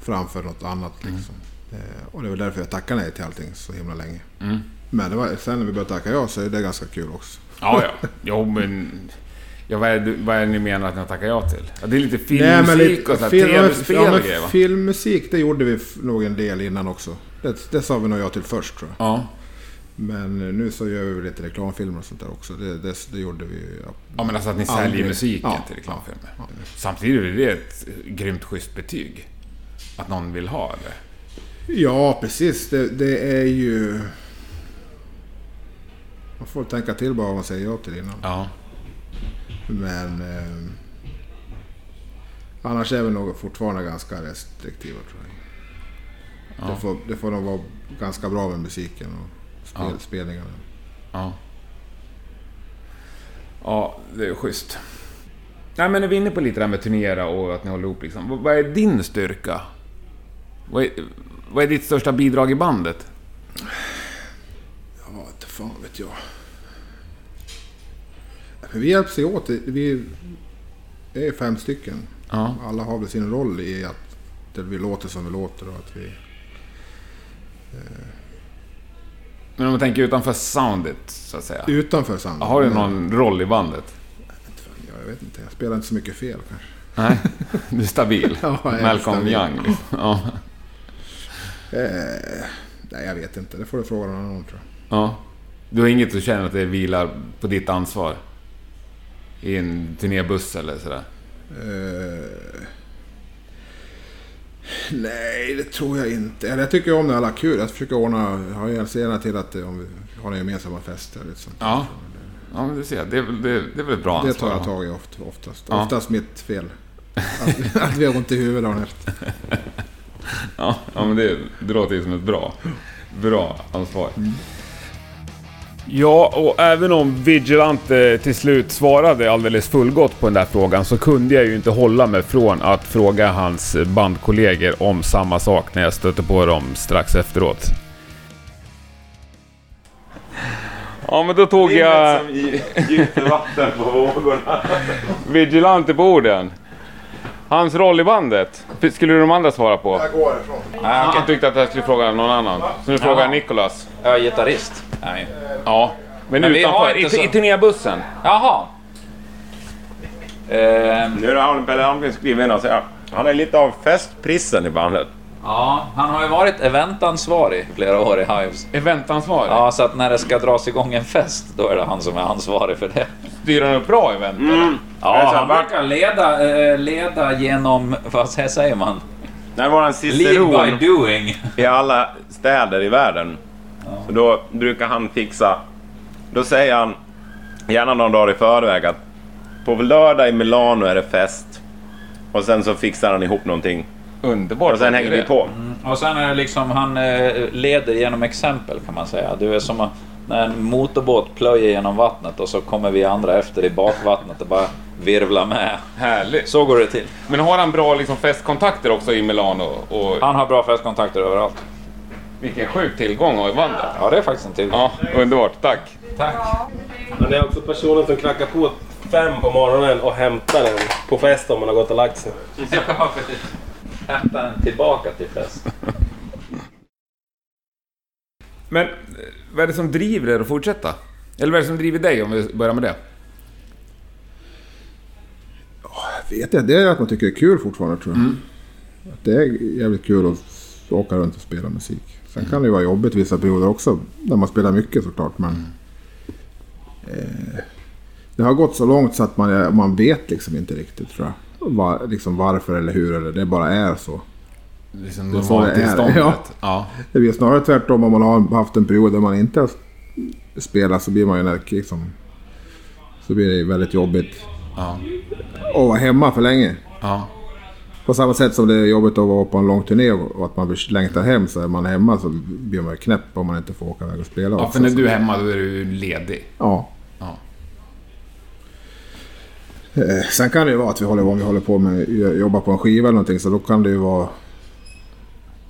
Speaker 1: framför något annat.
Speaker 2: Mm.
Speaker 1: Liksom. Eh, och det var därför jag tackade nej till allting så himla länge.
Speaker 2: Mm.
Speaker 1: Men det var, sen när vi började tacka ja så är det ganska kul också.
Speaker 2: Ja, ja. Jo, men... Ja, vad, är, det- vad är det ni menar att ni tackar ja till? Ja, det är lite filmmusik och så här,
Speaker 1: film-
Speaker 2: tv-spel
Speaker 1: ja,
Speaker 2: och
Speaker 1: men
Speaker 2: grejer, va?
Speaker 1: Filmmusik, det gjorde vi f- nog en del innan också. Det, det sa vi nog ja till först tror jag.
Speaker 2: Ja.
Speaker 1: Men nu så gör vi väl lite reklamfilmer och sånt där också. Det, det, det gjorde vi ju.
Speaker 2: ja, men alltså att ni säljer
Speaker 1: Aldrig.
Speaker 2: musiken
Speaker 1: Ja,
Speaker 2: till reklamfilmer.
Speaker 1: ja, ja.
Speaker 2: Samtidigt är det ett grymt schysst betyg. Att någon vill ha det.
Speaker 1: Ja, precis. Det, det är ju... Man får tänka till bara vad man säger ja till innan.
Speaker 2: Ja.
Speaker 1: Men... Eh, annars är vi nog fortfarande ganska restriktiva tror jag. Det, får, det får nog vara ganska bra med musiken och spel,
Speaker 2: Ja.
Speaker 1: spelningarna.
Speaker 2: Ja. Ja, det är schysst. Nej, men är vi inne på lite det här med turnera och att ni håller ihop liksom. Vad- Vad är din styrka? Vad är, vad är ditt största bidrag i bandet?
Speaker 1: Ja, inte fan vet jag. Men vi hjälps ju åt. Vi är fem stycken.
Speaker 2: Ja.
Speaker 1: Alla har väl sin roll i att det vi låter som vi låter och att vi...
Speaker 2: Men om man tänker utanför soundet, så att säga.
Speaker 1: Utanför soundet.
Speaker 2: Har du
Speaker 1: Men-
Speaker 2: någon roll i bandet?
Speaker 1: Ja, jag vet inte. Jag spelar inte så mycket fel kanske.
Speaker 2: Nej, [laughs] du är stabil.
Speaker 1: Ja, jag är
Speaker 2: Malcolm
Speaker 1: stabil. [laughs]
Speaker 2: Young. Liksom. Ja.
Speaker 1: Eh, nej, jag vet inte. Det får du fråga någon annan tror jag.
Speaker 2: ja. Du har inget du känner att det vilar på ditt ansvar? I en turnébuss eller sådär?
Speaker 1: Eh, nej, det tror jag inte. Eller jag tycker ju om när alla har kul. Jag försöker ordna... Jag har ju gärna till att eh, om vi har några gemensamma fester och lite sånt.
Speaker 2: Ja. Ja, men du ser. Det är, väl- det, det är väl ett bra
Speaker 1: Det
Speaker 2: ansvar?
Speaker 1: tar jag
Speaker 2: va?
Speaker 1: tag i oft, oftast.
Speaker 2: Ja.
Speaker 1: Oftast mitt
Speaker 2: [laughs]
Speaker 1: fel. Att, att vi har ont i huvudet dagen efter.
Speaker 2: Ja, ja men det, det låter ju som ett bra, bra ansvar.
Speaker 3: Ja, och även om Vigilante till slut svarade alldeles fullgott på den där frågan så kunde jag ju inte hålla mig från att fråga hans bandkollegor om samma sak när jag stötte på dem strax efteråt. Ja, men då tog jag
Speaker 2: Djupt vatten på vågorna.
Speaker 3: Vigilante på orden. Hans roll i bandet skulle de andra svara på.
Speaker 1: Jag går härifrån.
Speaker 3: Jag tyckte att jag skulle fråga någon annan. Så nu frågar jag Nikolas.
Speaker 4: Jag är gitarrist. Nej.
Speaker 3: Ja, men,
Speaker 4: Men vi har
Speaker 3: utanför.
Speaker 4: inte
Speaker 3: I,
Speaker 4: så-
Speaker 3: i turnébussen.
Speaker 4: Jaha. Ehm,
Speaker 5: Nu har Pelle Almgren skrivit in och säger att han är lite av festprissen i bandet.
Speaker 4: ja, han har ju varit eventansvarig flera år i Hives.
Speaker 3: Eventansvarig.
Speaker 4: Ja, så att när det ska dras igång en fest, då är det han som är ansvarig för det.
Speaker 3: Styr han upp bra event?
Speaker 2: Mm.
Speaker 4: Ja,
Speaker 5: så
Speaker 4: han
Speaker 5: vart-
Speaker 4: brukar leda, eh, leda genom, vad här säger man?
Speaker 5: När var han
Speaker 4: Lead
Speaker 5: ciceron
Speaker 4: by doing.
Speaker 5: i alla städer i världen. Så då brukar han fixa... Då säger han, gärna någon dag i förväg, att på lördag i Milano är det fest. Och sen så fixar han ihop någonting.
Speaker 2: Underbart.
Speaker 5: Och sen hänger vi på.
Speaker 4: Och sen är det liksom, han eh, leder genom exempel kan man säga. Du är som att- när en motorbåt plöjer genom vattnet och så kommer vi andra efter i bakvattnet och bara virvlar med.
Speaker 2: Härligt.
Speaker 4: Så går det till.
Speaker 2: Men har han bra liksom, festkontakter också i Milano? Och
Speaker 4: Han har bra festkontakter överallt.
Speaker 2: vilken sjuk tillgång har i bandet.
Speaker 4: Ja, det är faktiskt en till.
Speaker 2: Ja, underbart. Tack.
Speaker 4: Tack.
Speaker 6: Han är också personen som knackar på fem på morgonen och hämtar en på fest om man har gått och lagt sig.
Speaker 4: Ja, precis. Hämta en tillbaka till fest.
Speaker 2: Men eh, vad är det som driver er att fortsätta? Eller vad är det som driver dig om vi börjar med det?
Speaker 1: Jag vet jag. Det är att man tycker det är kul fortfarande tror jag. Att det är jävligt kul att åka runt och spela musik. Sen kan det ju vara jobbigt vissa perioder också. När man spelar mycket såklart. Men, eh, det har gått så långt så att man, är- man vet liksom inte riktigt tror jag. Var, liksom varför eller hur. Eller det bara är så.
Speaker 2: Liksom
Speaker 1: är så det är.
Speaker 2: normaltillståndet.
Speaker 1: Ja.
Speaker 2: ja.
Speaker 1: Det blir snarare tvärtom om man har haft en period där man inte har spelat så blir man ju en- liksom, Så blir det väldigt jobbigt.
Speaker 2: Ja.
Speaker 1: Och vara hemma för länge.
Speaker 2: Ja.
Speaker 1: På samma sätt som det är jobbigt att vara på en lång turné och att man vill längtar hem så är man hemma så blir man ju knäpp om man inte får åka iväg och spela.
Speaker 2: Ja,
Speaker 1: också.
Speaker 2: för när du är hemma då är du ju ledig.
Speaker 1: Ja.
Speaker 2: Ja.
Speaker 1: Eh, Sen kan det ju vara att vi håller, om vi håller på med jobbar på en skiva eller någonting så då kan det ju vara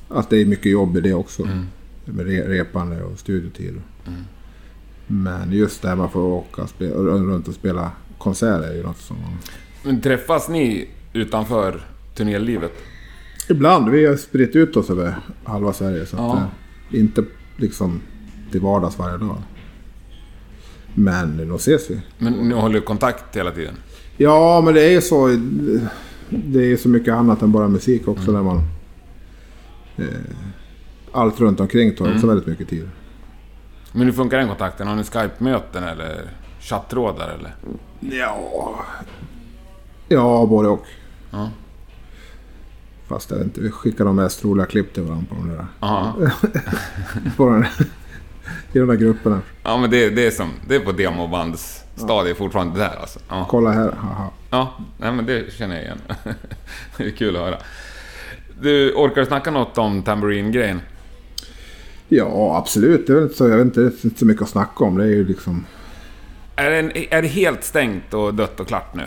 Speaker 1: att det är mycket jobb i det också.
Speaker 2: Mm.
Speaker 1: Med re- repande och studiotid. Men just det här man får åka och spela, runt och spela konserter är ju något som...
Speaker 2: Men träffas ni utanför turnélivet?
Speaker 1: Ibland, vi har spritt ut oss över halva Sverige. Så
Speaker 2: Ja.
Speaker 1: att, eh, inte liksom till vardags varje dag. Men nog ses vi.
Speaker 2: Men ni håller kontakt hela tiden?
Speaker 1: Ja, men det är ju så. Det är ju så mycket annat än bara musik också.
Speaker 2: Mm.
Speaker 1: När man, eh, allt runt omkring tar också
Speaker 2: Mm.
Speaker 1: väldigt mycket tid.
Speaker 2: Men hur funkar den kontakten? Har ni Skype-möten eller chattrådar eller?
Speaker 1: Ja, ja både och.
Speaker 2: Ja.
Speaker 1: Fast jag vet inte, vi skickar de mest roliga klipp till varandra på de där,
Speaker 2: Aha.
Speaker 1: på den, i de där grupperna.
Speaker 2: Ja men det, det, är som, det är på demobandsstadiet fortfarande där alltså. Ja.
Speaker 1: Kolla här, haha.
Speaker 2: Ja, nej, men det känner jag igen. [laughs] det är kul att höra. Du, orkar du snacka något om Tambourine-grejen?
Speaker 1: Ja, absolut. Det är väl inte så, jag vet inte, det finns inte så mycket att snacka om. Det är ju liksom...
Speaker 2: Är, det en- är det helt stängt och dött och klart nu?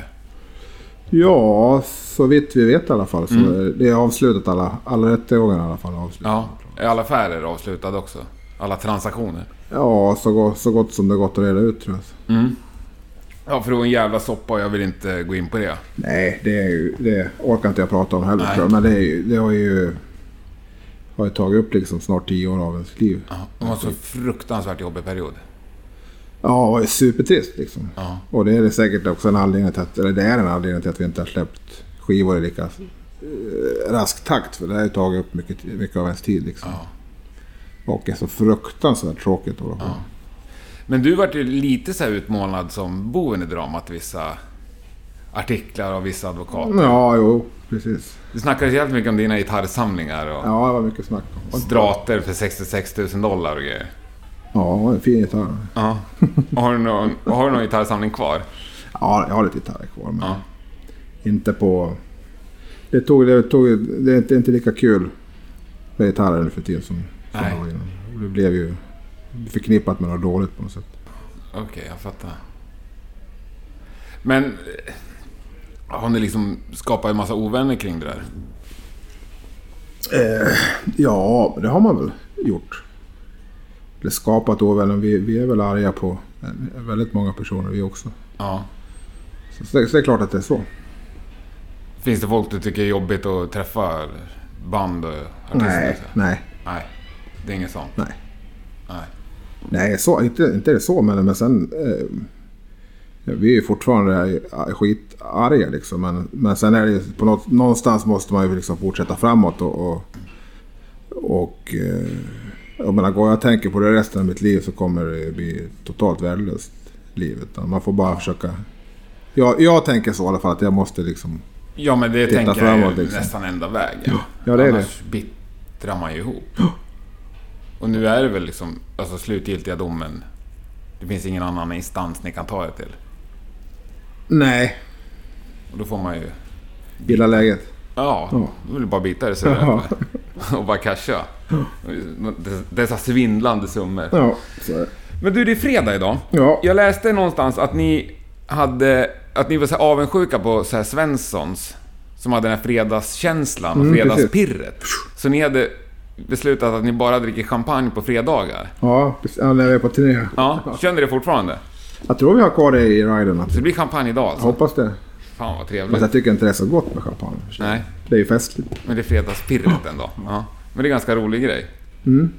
Speaker 1: Ja, så vitt vi vet i alla fall. Så är- Det är avslutat alla, alla rättegångar i alla fall. är avslutade.
Speaker 2: Ja. Är alla affärer avslutade också? Alla transaktioner?
Speaker 1: Ja, så, gå- så gott som det har gått att reda ut tror jag.
Speaker 2: Ja, för det var en jävla soppa och jag vill inte gå in på det.
Speaker 1: Nej, det, är ju, det orkar inte jag prata om heller tror jag. Men det, är ju, det har ju, har ju tagit upp liksom snart tio år av ens liv. Ja,
Speaker 2: Det var en så fruktansvärt jobbig period.
Speaker 1: det var ju supertrist liksom.
Speaker 2: Ja.
Speaker 1: Och det är det säkert också en anledning till att, eller det är en anledning till att vi inte har släppt skivor i lika eh, rask takt. För det har ju tagit upp mycket, mycket av ens tid liksom. Och är så fruktansvärt tråkigt att hålla på.
Speaker 2: Men du vart ju lite så här utmålad som boven i dramat i vissa artiklar och vissa advokater.
Speaker 1: Ja, jo, precis.
Speaker 2: Du snackade jävligt mycket om dina gitarrsamlingar och
Speaker 1: Ja, det var mycket snack om.
Speaker 2: strater för 66 000 dollar och grejer.
Speaker 1: Ja, en fin gitarr.
Speaker 2: Ja. Och [laughs] Har du någon, har du någon gitarrsamling kvar?
Speaker 1: Ja, jag har lite gitarrer kvar, men
Speaker 2: Ja.
Speaker 1: inte på... Det, tog, det, tog, det är inte, inte lika kul med gitarrer nu för tiden som som
Speaker 2: Nej.
Speaker 1: det var innan. Och Det blev ju förknippat med något dåligt på något sätt.
Speaker 2: Okej, jag fattar. Men eh, har ni liksom skapat en massa ovänner kring det där?
Speaker 1: Ja, men det har man väl gjort. Eller skapat ovänner. Vi, vi är väl arga på eh, väldigt många personer vi också.
Speaker 2: Ja.
Speaker 1: Så, så, det, så det är klart att det är så.
Speaker 2: Finns det folk du tycker är jobbigt att träffa? eller Band och artister?
Speaker 1: Nej, nej,
Speaker 2: Nej. Det är inget sånt?
Speaker 1: Nej.
Speaker 2: Nej.
Speaker 1: Nej, så, inte, inte är det så, men, men sen... Eh, ja, vi är ju fortfarande eh, skitarga liksom, men, men sen är det ju på något, någonstans måste man ju liksom fortsätta framåt och... och, och eh, jag menar, går jag och tänker på det resten av mitt liv så kommer det bli totalt värdelöst liv. Utan man får bara försöka... Jag, jag tänker så i alla fall, att jag måste liksom...
Speaker 2: Ja, men det
Speaker 1: Titta
Speaker 2: tänker jag är ju
Speaker 1: framåt, liksom.
Speaker 2: nästan enda vägen.
Speaker 1: Ja, det är
Speaker 2: Annars bittrar man ju ihop. Och nu är det väl liksom alltså, slutgiltiga domen. Det finns ingen annan instans ni kan ta er till.
Speaker 1: Nej,
Speaker 2: Och då får man ju...
Speaker 1: gilla läget.
Speaker 2: Ja, då vill du bara bita det så
Speaker 1: Ja.
Speaker 2: [laughs] Och bara casha. Dessa svindlande summor.
Speaker 1: Ja, så är det.
Speaker 2: Men du, det är fredag idag.
Speaker 1: Ja.
Speaker 2: Jag läste någonstans att ni hade... Att ni var så här avundsjuka på så här Svenssons. Som hade den här fredagskänslan och
Speaker 1: Mm,
Speaker 2: fredagspirret. Så ni hade beslutat att ni bara dricker champagne på fredagar.
Speaker 1: Ja, precis. Ja, när vi är på turné.
Speaker 2: Ja, känner det fortfarande?
Speaker 1: Jag tror vi har kvar det i riden. att-
Speaker 2: Så det blir champagne idag alltså?
Speaker 1: Hoppas det.
Speaker 2: Fan vad
Speaker 1: Fast
Speaker 2: trevligt.
Speaker 1: jag tycker inte det är så gott med champagne.
Speaker 2: Nej,
Speaker 1: Det är ju festligt.
Speaker 2: men det är fredagspirret ändå. Ja. Men det är en ganska rolig grej.
Speaker 1: Mm.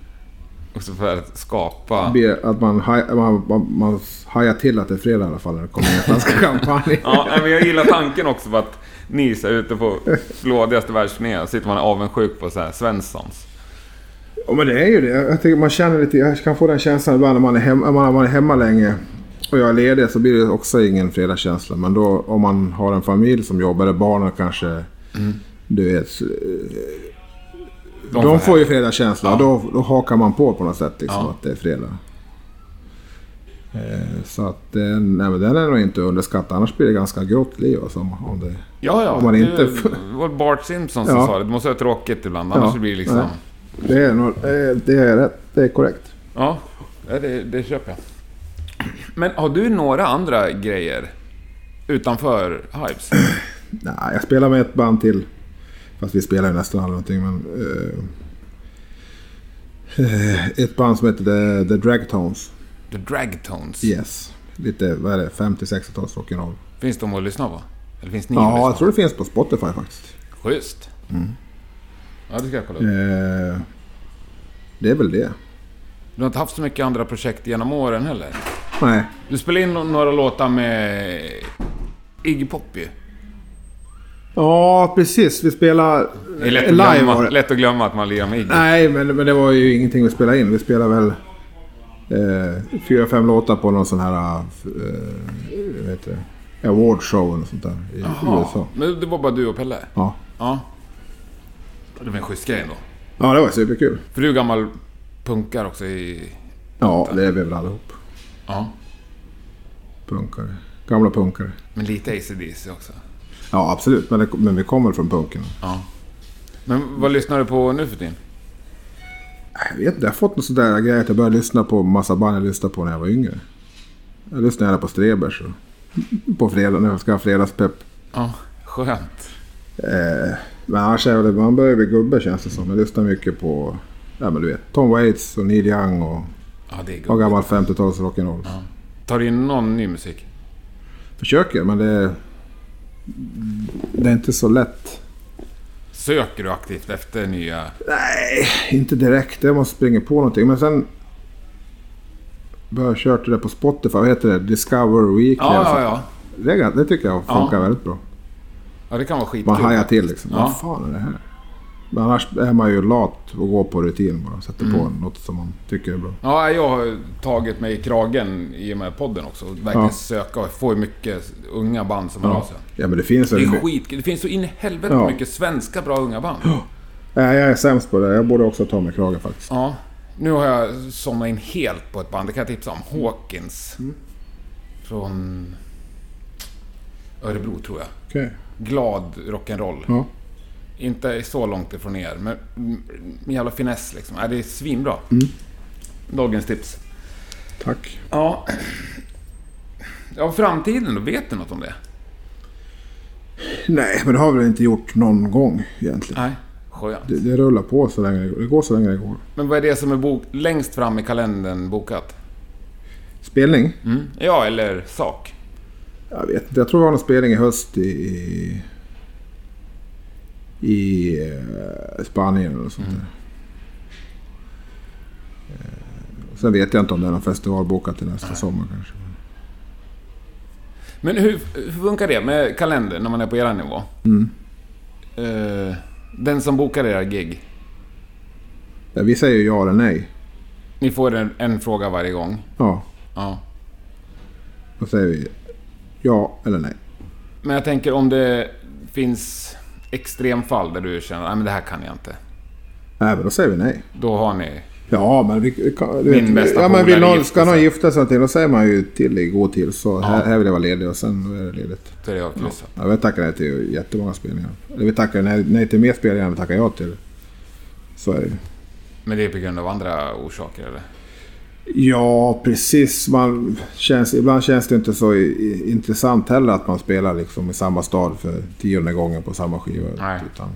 Speaker 2: Också för att skapa...
Speaker 1: Be- Att man, haj- man, man, man hajar till att det är fredag i alla fall när det kommer en flaska champagne.
Speaker 2: Ja, nej, men jag gillar tanken också på att ni är ute på flådigaste världsturnén sitter man avundsjuk på så här Svenssons.
Speaker 1: Ja, men det är ju det. Jag tycker man känner lite, jag kan få den känslan ibland när man är hemma, man, man är hemma länge och jag är ledig så blir det också ingen fredagskänsla. Men då om man har en familj som jobbar, eller barnen kanske, du vet, de, får, ju fredagskänsla och då, då hakar man på på något sätt liksom
Speaker 2: Ja.
Speaker 1: att det är fredag. Eh, Eh, Så att eh, nej, men den är nog inte underskattad, annars blir det ganska grått liv. Alltså, om om det...
Speaker 2: Ja, ja.
Speaker 1: Om man
Speaker 2: det
Speaker 1: inte-
Speaker 2: var Bart Simpson som
Speaker 1: Ja.
Speaker 2: sa det. Det måste vara tråkigt ibland, annars
Speaker 1: Ja,
Speaker 2: blir det liksom...
Speaker 1: nej. Det är, nog, eh, det är rätt, det är korrekt.
Speaker 2: Ja, ja, det, det köper jag. Men har du några andra grejer utanför Hypes?
Speaker 1: Nej, jag spelar med ett band till. Fast vi spelar ju nästan aldrig någonting. Men, eh, eh, ett band som heter The, The Dragtones.
Speaker 2: The Dragtones.
Speaker 1: Yes. Lite, vad är det, 50-60-tals rock'n'roll.
Speaker 2: Finns de att lyssna på? Eller finns ni att
Speaker 1: Ja, Mm.
Speaker 2: lyssna
Speaker 1: jag tror det finns på Spotify faktiskt.
Speaker 2: på? Schysst. Ja, det ska jag kolla upp.
Speaker 1: Eh, det är väl det.
Speaker 2: Du har inte haft så mycket andra projekt genom åren heller.
Speaker 1: Nej.
Speaker 2: Du spelade in no- några låtar med Iggy Pop ju.
Speaker 1: Ja, precis. Vi spelar eh,
Speaker 2: Det är lätt att,
Speaker 1: live. var
Speaker 2: glömma,
Speaker 1: det.
Speaker 2: lätt att glömma att man lirar med Iggy.
Speaker 1: Nej, men, men det var ju ingenting vi spelade in. Vi spelade väl eh, fyra, fem låtar på någon sån här eh, vet det, award show eller sånt där i USA.
Speaker 2: Men det var bara du och Pelle?
Speaker 1: Ja.
Speaker 2: Ja. Det var en schysst grej ändå.
Speaker 1: ja, det var superkul.
Speaker 2: För du är gammal punkar också i...
Speaker 1: Ja, det är vi väl allihop.
Speaker 2: Ja.
Speaker 1: Punkare. Gamla punkare.
Speaker 2: Men lite ACDC också.
Speaker 1: Ja, absolut. Men, det, men vi kommer från punken.
Speaker 2: Men vad lyssnar du på nu för tiden?
Speaker 1: Jag vet inte, jag har fått någon sån där grej att jag började lyssna på massa band jag lyssnade på när jag var yngre. Jag lyssnade gärna på Strebers och på fredag, när jag ska ha fredagspepp.
Speaker 2: Ja, skönt.
Speaker 1: Eh, men annars är det, man börjar bli gubbe känns det som. Jag lyssnar mycket på ja, men du vet, Tom Waits och Neil Young och,
Speaker 2: Ja, det är
Speaker 1: och
Speaker 2: gott.
Speaker 1: gammal 50-tals rock'n'roll.
Speaker 2: Tar du in någon ny musik?
Speaker 1: Försöker, men det, det är inte så lätt.
Speaker 2: Söker du aktivt efter nya...
Speaker 1: Nej, inte direkt. Jag måste springa på någonting. Men sen började jag köra det där på Spotify. Vad heter det? Discover Weekly.
Speaker 2: Ja,
Speaker 1: eller så.
Speaker 2: ja, ja.
Speaker 1: Det, är gan- det tycker jag funkar väldigt bra.
Speaker 2: Ja, det kan vara
Speaker 1: Man
Speaker 2: skitkul.
Speaker 1: hajar till liksom.
Speaker 2: Ja.
Speaker 1: Vad fan är det här? Men annars är man ju lat och går på rutin bara. Sätter på
Speaker 2: Mm.
Speaker 1: något som man tycker är bra.
Speaker 2: Ja, jag har tagit mig i kragen i och med podden också. Och Verkligen
Speaker 1: Ja.
Speaker 2: söka och få mycket unga band som hör av sig.
Speaker 1: Ja, men det finns
Speaker 2: Det
Speaker 1: väl...
Speaker 2: är skit. Det finns så in i helvete
Speaker 1: Ja.
Speaker 2: mycket svenska bra unga band.
Speaker 1: Nej, jag är sämst på det. Jag borde också ta mig kragen faktiskt.
Speaker 2: Ja. Nu har jag somnat in helt på ett band. Det kan jag tipsa
Speaker 1: Mm.
Speaker 2: om. Hawkins. Från Örebro tror jag.
Speaker 1: Okej.
Speaker 2: Glad rock'n'roll.
Speaker 1: Ja.
Speaker 2: Inte så långt ifrån er, men mm, med jävla finess liksom. Ja, det är svinbra.
Speaker 1: Mm.
Speaker 2: Dagens tips.
Speaker 1: Tack.
Speaker 2: Ja. Ja, framtiden då? Vet du något om det?
Speaker 1: Nej, men det har vi väl inte gjort någon gång egentligen.
Speaker 2: Nej. Skönt.
Speaker 1: Det, det rullar på så länge det går. Det går så länge det går.
Speaker 2: Men vad är det som är bok- längst fram i kalendern bokat?
Speaker 1: Spelning?
Speaker 2: Mm. Ja, eller sak.
Speaker 1: Jag vet inte. Jag tror vi har någon spelning i höst i... I, i eh, Spanien eller något sånt där. Eh, Sen vet jag inte om det är någon festival bokat till nästa sommar kanske.
Speaker 2: Men hur, hur funkar det med kalendern när man är på er nivå? Eh, den som bokar era gig,
Speaker 1: Ja, vi säger ju ja eller nej.
Speaker 2: ni får en, en fråga varje gång.
Speaker 1: Ja,
Speaker 2: Ja.
Speaker 1: då säger vi ja eller nej.
Speaker 2: Men jag tänker om det finns extremfall där du känner att det här kan jag inte.
Speaker 1: Nej, men då säger vi nej.
Speaker 2: Då har ni...
Speaker 1: Ja, men vi, vi kan, du
Speaker 2: Min
Speaker 1: vet,
Speaker 2: bästa
Speaker 1: ja, men
Speaker 2: polare
Speaker 1: vill någon,
Speaker 2: gifte
Speaker 1: ska någon
Speaker 2: sig.
Speaker 1: gifta sig till, då säger man ju till i god till. Så här, här vill jag vara ledig och sen då är det ledigt.
Speaker 2: Då är det avkryssat.
Speaker 1: Ja, vi tackar nej till jättemånga spelningar. Eller vi tackar nej, nej till mer spelningar än vi tackar ja till. Så är det ju.
Speaker 2: Men det är på grund av andra orsaker eller?
Speaker 1: Ja, precis. Man känns, ibland känns det inte så i, i, intressant heller att man spelar liksom i samma stad för tionde gången på samma skiva.
Speaker 2: Nej.
Speaker 1: Utan,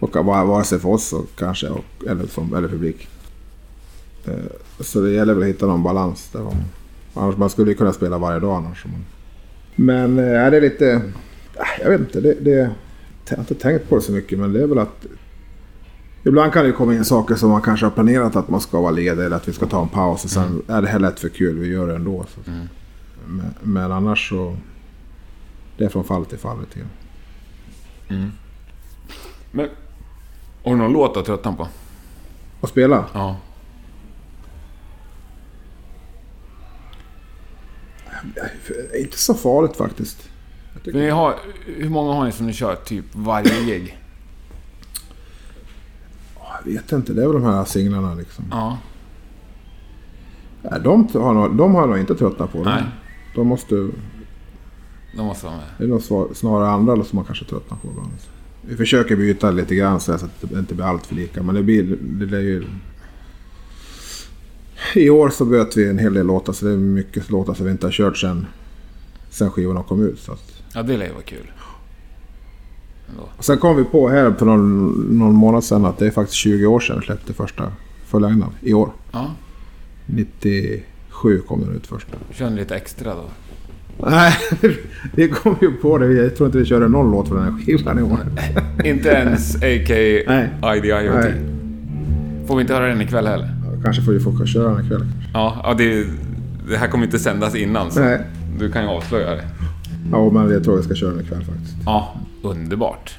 Speaker 1: och va- vare sig för oss och kanske, och, eller, som, eller publik. Eh, så det gäller väl att hitta någon balans. Där man, annars man skulle ju kunna spela varje dag annars. Men, men eh, det är lite... eh, Jag vet inte. Det, det, jag har inte tänkt på det så mycket, men det är väl att Ibland kan det ju komma in saker som man kanske har planerat att man ska vara ledig eller att vi ska ta en paus och sen är det här lätt för kul, vi gör det ändå. Så. Men, men annars så... Det är från fall till fall lite grann.
Speaker 2: Men... Har du någon låt du har tröttnat på?
Speaker 1: Och spela?
Speaker 2: Ja.
Speaker 1: Det är inte så farligt faktiskt.
Speaker 2: Ni har, hur många har ni som ni kör typ varje gig?
Speaker 1: Jag vet inte, det är väl de här singlarna liksom.
Speaker 2: Ja.
Speaker 1: Nej, de, har nog, de har nog inte tröttnat på. dem.
Speaker 2: Nej.
Speaker 1: De måste,
Speaker 2: De måste vara med.
Speaker 1: det är nog svar- snarare andra som man kanske tröttnar på. ibland. Vi försöker byta lite grann så här så att det inte blir allt för lika. Men det blir, det blir ju... I år så böt vi en hel del låtar så det är mycket låtar som vi inte har kört sen, sen skivorna kom ut. Så att,
Speaker 2: Ja, det lär ju vara kul.
Speaker 1: Och Sen kom vi på här för någon, någon månad sedan att det är faktiskt 20 år sedan vi släppte första fullängden i år.
Speaker 2: Ja,
Speaker 1: 97 kom den ut första. [laughs]
Speaker 2: kör ni lite extra då.
Speaker 1: Nej, vi kom ju på det. Jag tror inte vi körde någon låt för den här skivan i år.
Speaker 2: Inte ens AK
Speaker 1: Nej.
Speaker 2: IDIOT.
Speaker 1: Nej.
Speaker 2: Får vi inte höra den ikväll heller?
Speaker 1: Kanske får vi få köra den ikväll.
Speaker 2: Ja, ja det, det här kommer inte sändas innan så
Speaker 1: Nej.
Speaker 2: du kan ju avslöja det.
Speaker 1: Ja, men jag tror jag ska köra den ikväll faktiskt.
Speaker 2: Ja, underbart.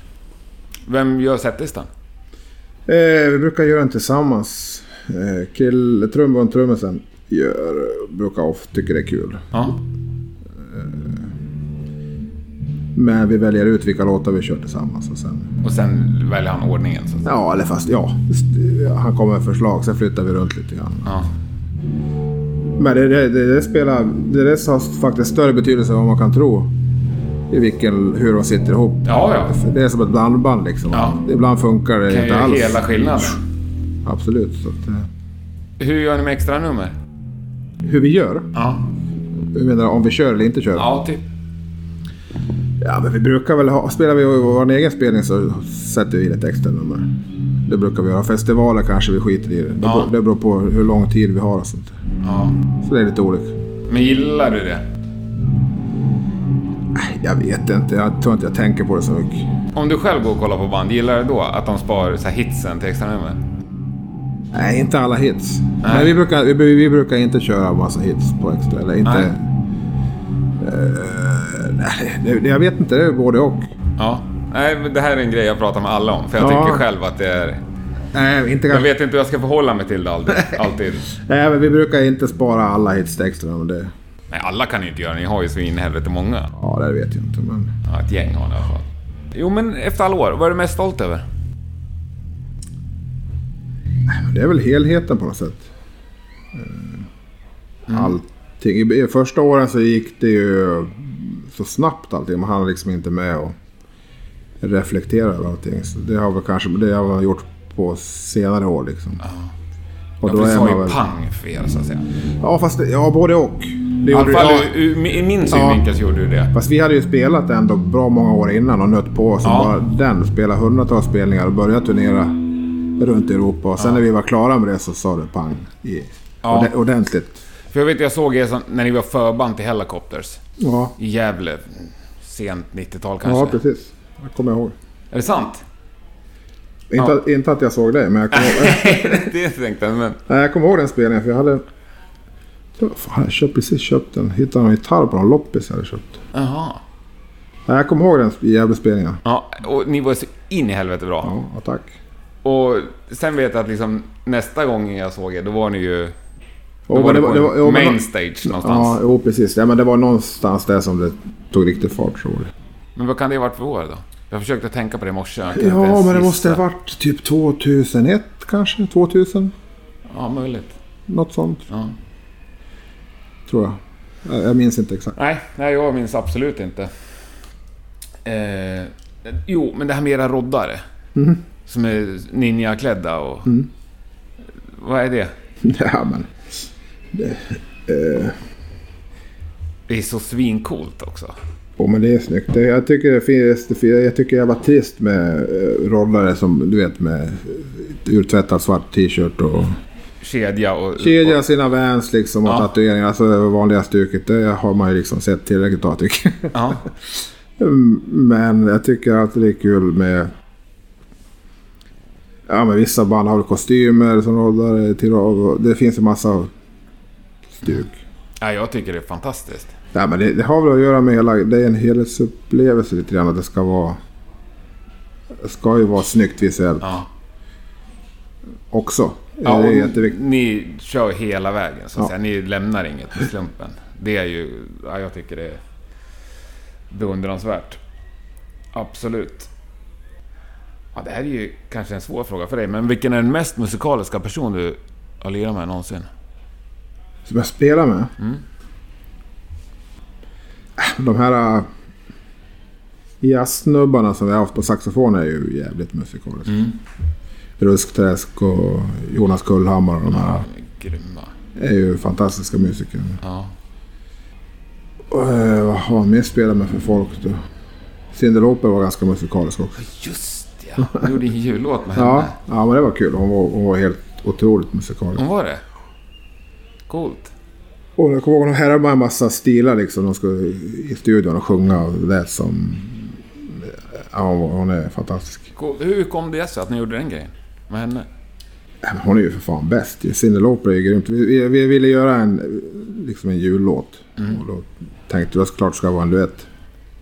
Speaker 2: Vem gör setlistan?
Speaker 1: Eh, vi brukar göra den tillsammans. Eh, kill, trumbon, trummisen gör, brukar ofta tycker det är kul.
Speaker 2: Ja,
Speaker 1: Men vi väljer ut vilka låtar vi kör tillsammans och sen
Speaker 2: och sen väljer han ordningen. Så. att säga.
Speaker 1: Ja, eller fast ja. st- Han kommer med förslag, sen flyttar vi runt lite grann.
Speaker 2: Ja.
Speaker 1: Men det, det, det, det, spelar, det, det har faktiskt större betydelse än vad man kan tro. I vilken, hur de sitter ihop.
Speaker 2: Ja, ja.
Speaker 1: För Det är som ett blandband liksom.
Speaker 2: Ja.
Speaker 1: Ibland funkar det
Speaker 2: Kan
Speaker 1: inte
Speaker 2: ju
Speaker 1: alls.
Speaker 2: hela skillnaden.
Speaker 1: Absolut. Så att, eh,
Speaker 2: Hur gör ni med extra nummer?
Speaker 1: hur vi gör?
Speaker 2: Ja,
Speaker 1: Jag menar om vi kör eller inte kör?
Speaker 2: ja typ.
Speaker 1: Ja, men vi brukar väl ha... Spelar vi vår egen spelning så sätter vi in ett extra nummer. Det brukar vi göra. Festivaler kanske vi skiter i. Det, det
Speaker 2: Ja.
Speaker 1: beror- det beror på hur lång tid vi har och sånt.
Speaker 2: Ja.
Speaker 1: Så det är lite olika.
Speaker 2: Men gillar du det?
Speaker 1: Jag vet inte, jag tror inte jag tänker på det så mycket.
Speaker 2: Om du själv går och kollar på band, gillar du då att de spar så här hitsen till extra nummer?
Speaker 1: Nej, inte alla hits. Nej. vi, brukar, vi, vi brukar inte köra massa hits på extra. Eller inte...
Speaker 2: Nej.
Speaker 1: Eh, nej, det- jag vet inte, det är både och.
Speaker 2: Ja. Nej, men det här är en grej jag pratar med alla om, för jag
Speaker 1: Ja.
Speaker 2: tycker själv att det är...
Speaker 1: Nej, inte
Speaker 2: Jag
Speaker 1: kanske,
Speaker 2: vet inte hur jag ska förhålla mig till det alltid.
Speaker 1: [laughs]
Speaker 2: alltid.
Speaker 1: nej, men vi brukar inte spara alla hits till extra. Men det,
Speaker 2: Nej, alla kan ju inte göra det. Ni har ju så in i helvete många.
Speaker 1: ja, det vet jag inte. Men...
Speaker 2: Ja, ett gäng har ni i alla fall. Jo, men efter alla år, vad är du mest stolt över?
Speaker 1: Det är väl helheten på något sätt. Eh,
Speaker 2: Mm.
Speaker 1: Allting. I i första åren så gick det ju så snabbt allting. Man hann liksom inte med och reflektera över allting. Så det har väl kanske det har jag gjort på senare år liksom. Och
Speaker 2: Ja,
Speaker 1: då
Speaker 2: för det
Speaker 1: är
Speaker 2: sa
Speaker 1: man
Speaker 2: ju
Speaker 1: väl...
Speaker 2: pang för er, så att säga.
Speaker 1: Ja, fast det, ja, både och. Det
Speaker 2: I
Speaker 1: gjorde
Speaker 2: alla fall
Speaker 1: jag.
Speaker 2: ur- ur- i min synvinkel så gjorde du det.
Speaker 1: Fast vi hade ju spelat ändå bra många år innan och nött på. Så
Speaker 2: Ja.
Speaker 1: bara den spelat hundratals spelningar och börjat turnera runt i Europa. Och sen när vi var klara med det så sa det pang. I,
Speaker 2: Ja.
Speaker 1: orde- Ordentligt.
Speaker 2: För jag vet, jag såg er som, när ni var förband till Helicopters.
Speaker 1: Ja,
Speaker 2: I Gävle. Sent 90-tal
Speaker 1: ja
Speaker 2: kanske.
Speaker 1: precis. Jag kommer ihåg.
Speaker 2: är det sant?
Speaker 1: Inte, att- inte att jag såg dig, men jag kommer
Speaker 2: [laughs]
Speaker 1: ihåg,
Speaker 2: det tänkte jag, men...
Speaker 1: nej, jag kommer ihåg den spelningen. För jag hade... Fan, jag köpte precis köpt den. Hittade en gitarr på någon loppis jag hade köpt.
Speaker 2: Jaha.
Speaker 1: Nej, jag kommer ihåg den jävla spelningen.
Speaker 2: Ja, och ni var så in i helvete bra.
Speaker 1: Ja, ja, tack.
Speaker 2: Och sen vet jag att liksom nästa gång jag såg er, då var ni ju... Då
Speaker 1: Och
Speaker 2: var
Speaker 1: men
Speaker 2: det på
Speaker 1: var-
Speaker 2: en
Speaker 1: jo, men-
Speaker 2: main stage någonstans.
Speaker 1: Ja, jo, precis. Ja, men det var någonstans där som det tog riktig fart. Så var det.
Speaker 2: Men vad kan det ha varit för år då? Jag försökte tänka på det i morse. jag kan inte
Speaker 1: Ja,
Speaker 2: ens
Speaker 1: men det
Speaker 2: gissa.
Speaker 1: måste ha varit typ 2001 kanske? 2000?
Speaker 2: Ja, möjligt.
Speaker 1: Något sånt.
Speaker 2: Ja.
Speaker 1: Tror jag. Jag- Jag minns inte exakt.
Speaker 2: Nej, nej, jag minns absolut inte. Eh, jo, men det här med era roddare.
Speaker 1: Mm.
Speaker 2: Som är ninjaklädda och... Vad är det?
Speaker 1: [laughs] Ja, men.
Speaker 2: Det är så svincoolt också.
Speaker 1: Oh, men det är snyggt. Det- Jag tycker det finns, det fin- jag tycker jag var trist med eh, rollare som du vet med eh, urtvättad svart t-shirt och
Speaker 2: Kedja och...
Speaker 1: kedja sina vans liksom och
Speaker 2: Ja.
Speaker 1: tatueringar. Alltså det vanliga stuket. Det har man ju liksom sett tillräckligt av tycker jag.
Speaker 2: Och, ja.
Speaker 1: Mm, Men jag tycker alltid det är kul med... Ja, men vissa band har väl kostymer som rollare till och Det finns en massa stuk.
Speaker 2: ja, jag tycker det är fantastiskt.
Speaker 1: Nej, men det, det har väl att göra med hela... Det är en helhetsupplevelse lite grann att det ska vara... Det ska ju vara snyggt visuellt
Speaker 2: Ja.
Speaker 1: också.
Speaker 2: Ja,
Speaker 1: det är
Speaker 2: och
Speaker 1: jätteviktigt.
Speaker 2: Ni kör hela vägen, så att
Speaker 1: Ja.
Speaker 2: säga. Ni lämnar inget till slumpen. Det är ju... Ja, jag tycker det är beundransvärt. Absolut. Ja, det här är ju kanske en svår fråga för dig, men vilken är den mest musikaliska person du har lirat med någonsin?
Speaker 1: Som jag spelar med. De här äh, jazzsnubbarna som vi har haft på saxofon är ju jävligt musikaliska. Ruskträsk och Jonas Kullhammar och de här
Speaker 2: Grymma.
Speaker 1: är ju fantastiska musiker.
Speaker 2: Ja.
Speaker 1: Och, eh, vad har man mer spelat med för folk då? Cyndi Lauper var ganska musikalisk också.
Speaker 2: Just ja, du gjorde en jullåt med henne.
Speaker 1: Ja, ja men det var kul. Hon var, hon var helt otroligt musikalisk.
Speaker 2: Hon var det? Coolt.
Speaker 1: Och jag kommer ihåg att de härmade en massa stilar liksom. De skulle i studion och sjunga och det lät som... Ja, hon, hon är fantastisk.
Speaker 2: Coolt. Hur kom det sig att ni gjorde den grejen? Med henne?
Speaker 1: Nej, men Hon är ju för fan bäst. ju. Cyndi Lauper är ju grymt. Vi, vi, vi ville göra en, liksom en jullåt. Och då tänkte jag såklart ska det vara en duett.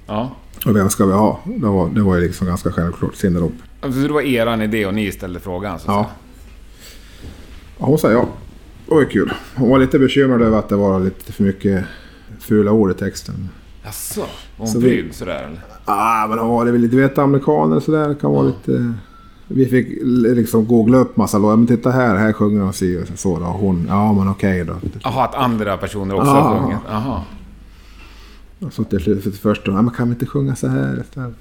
Speaker 2: Ja.
Speaker 1: Och vem ska vi ha? Det var, det var ju liksom ganska självklart. Cyndi Lauper.
Speaker 2: Alltså, Så det var eran idé och ni ställde frågan? Så
Speaker 1: Ja.
Speaker 2: att säga.
Speaker 1: ja. Hon sa ja. Det var ju kul. Hon var lite bekymrad över att det var lite för mycket fula ord i texten.
Speaker 2: Jaså? Var
Speaker 1: Så
Speaker 2: hon
Speaker 1: vi-
Speaker 2: pryd sådär eller?
Speaker 1: Ja, Ah, men vad var det väl lite, du vet amerikaner och sådär kan vara lite... Vi fick l- liksom googla upp massa låtar. Men titta här, här sjunger de si och så då. Hon, ja men okej
Speaker 2: Jaha, att andra personer också
Speaker 1: Ja.
Speaker 2: har sjungit? Jaha.
Speaker 1: då. Så till slut, för först då, ja men kan vi inte sjunga så här istället?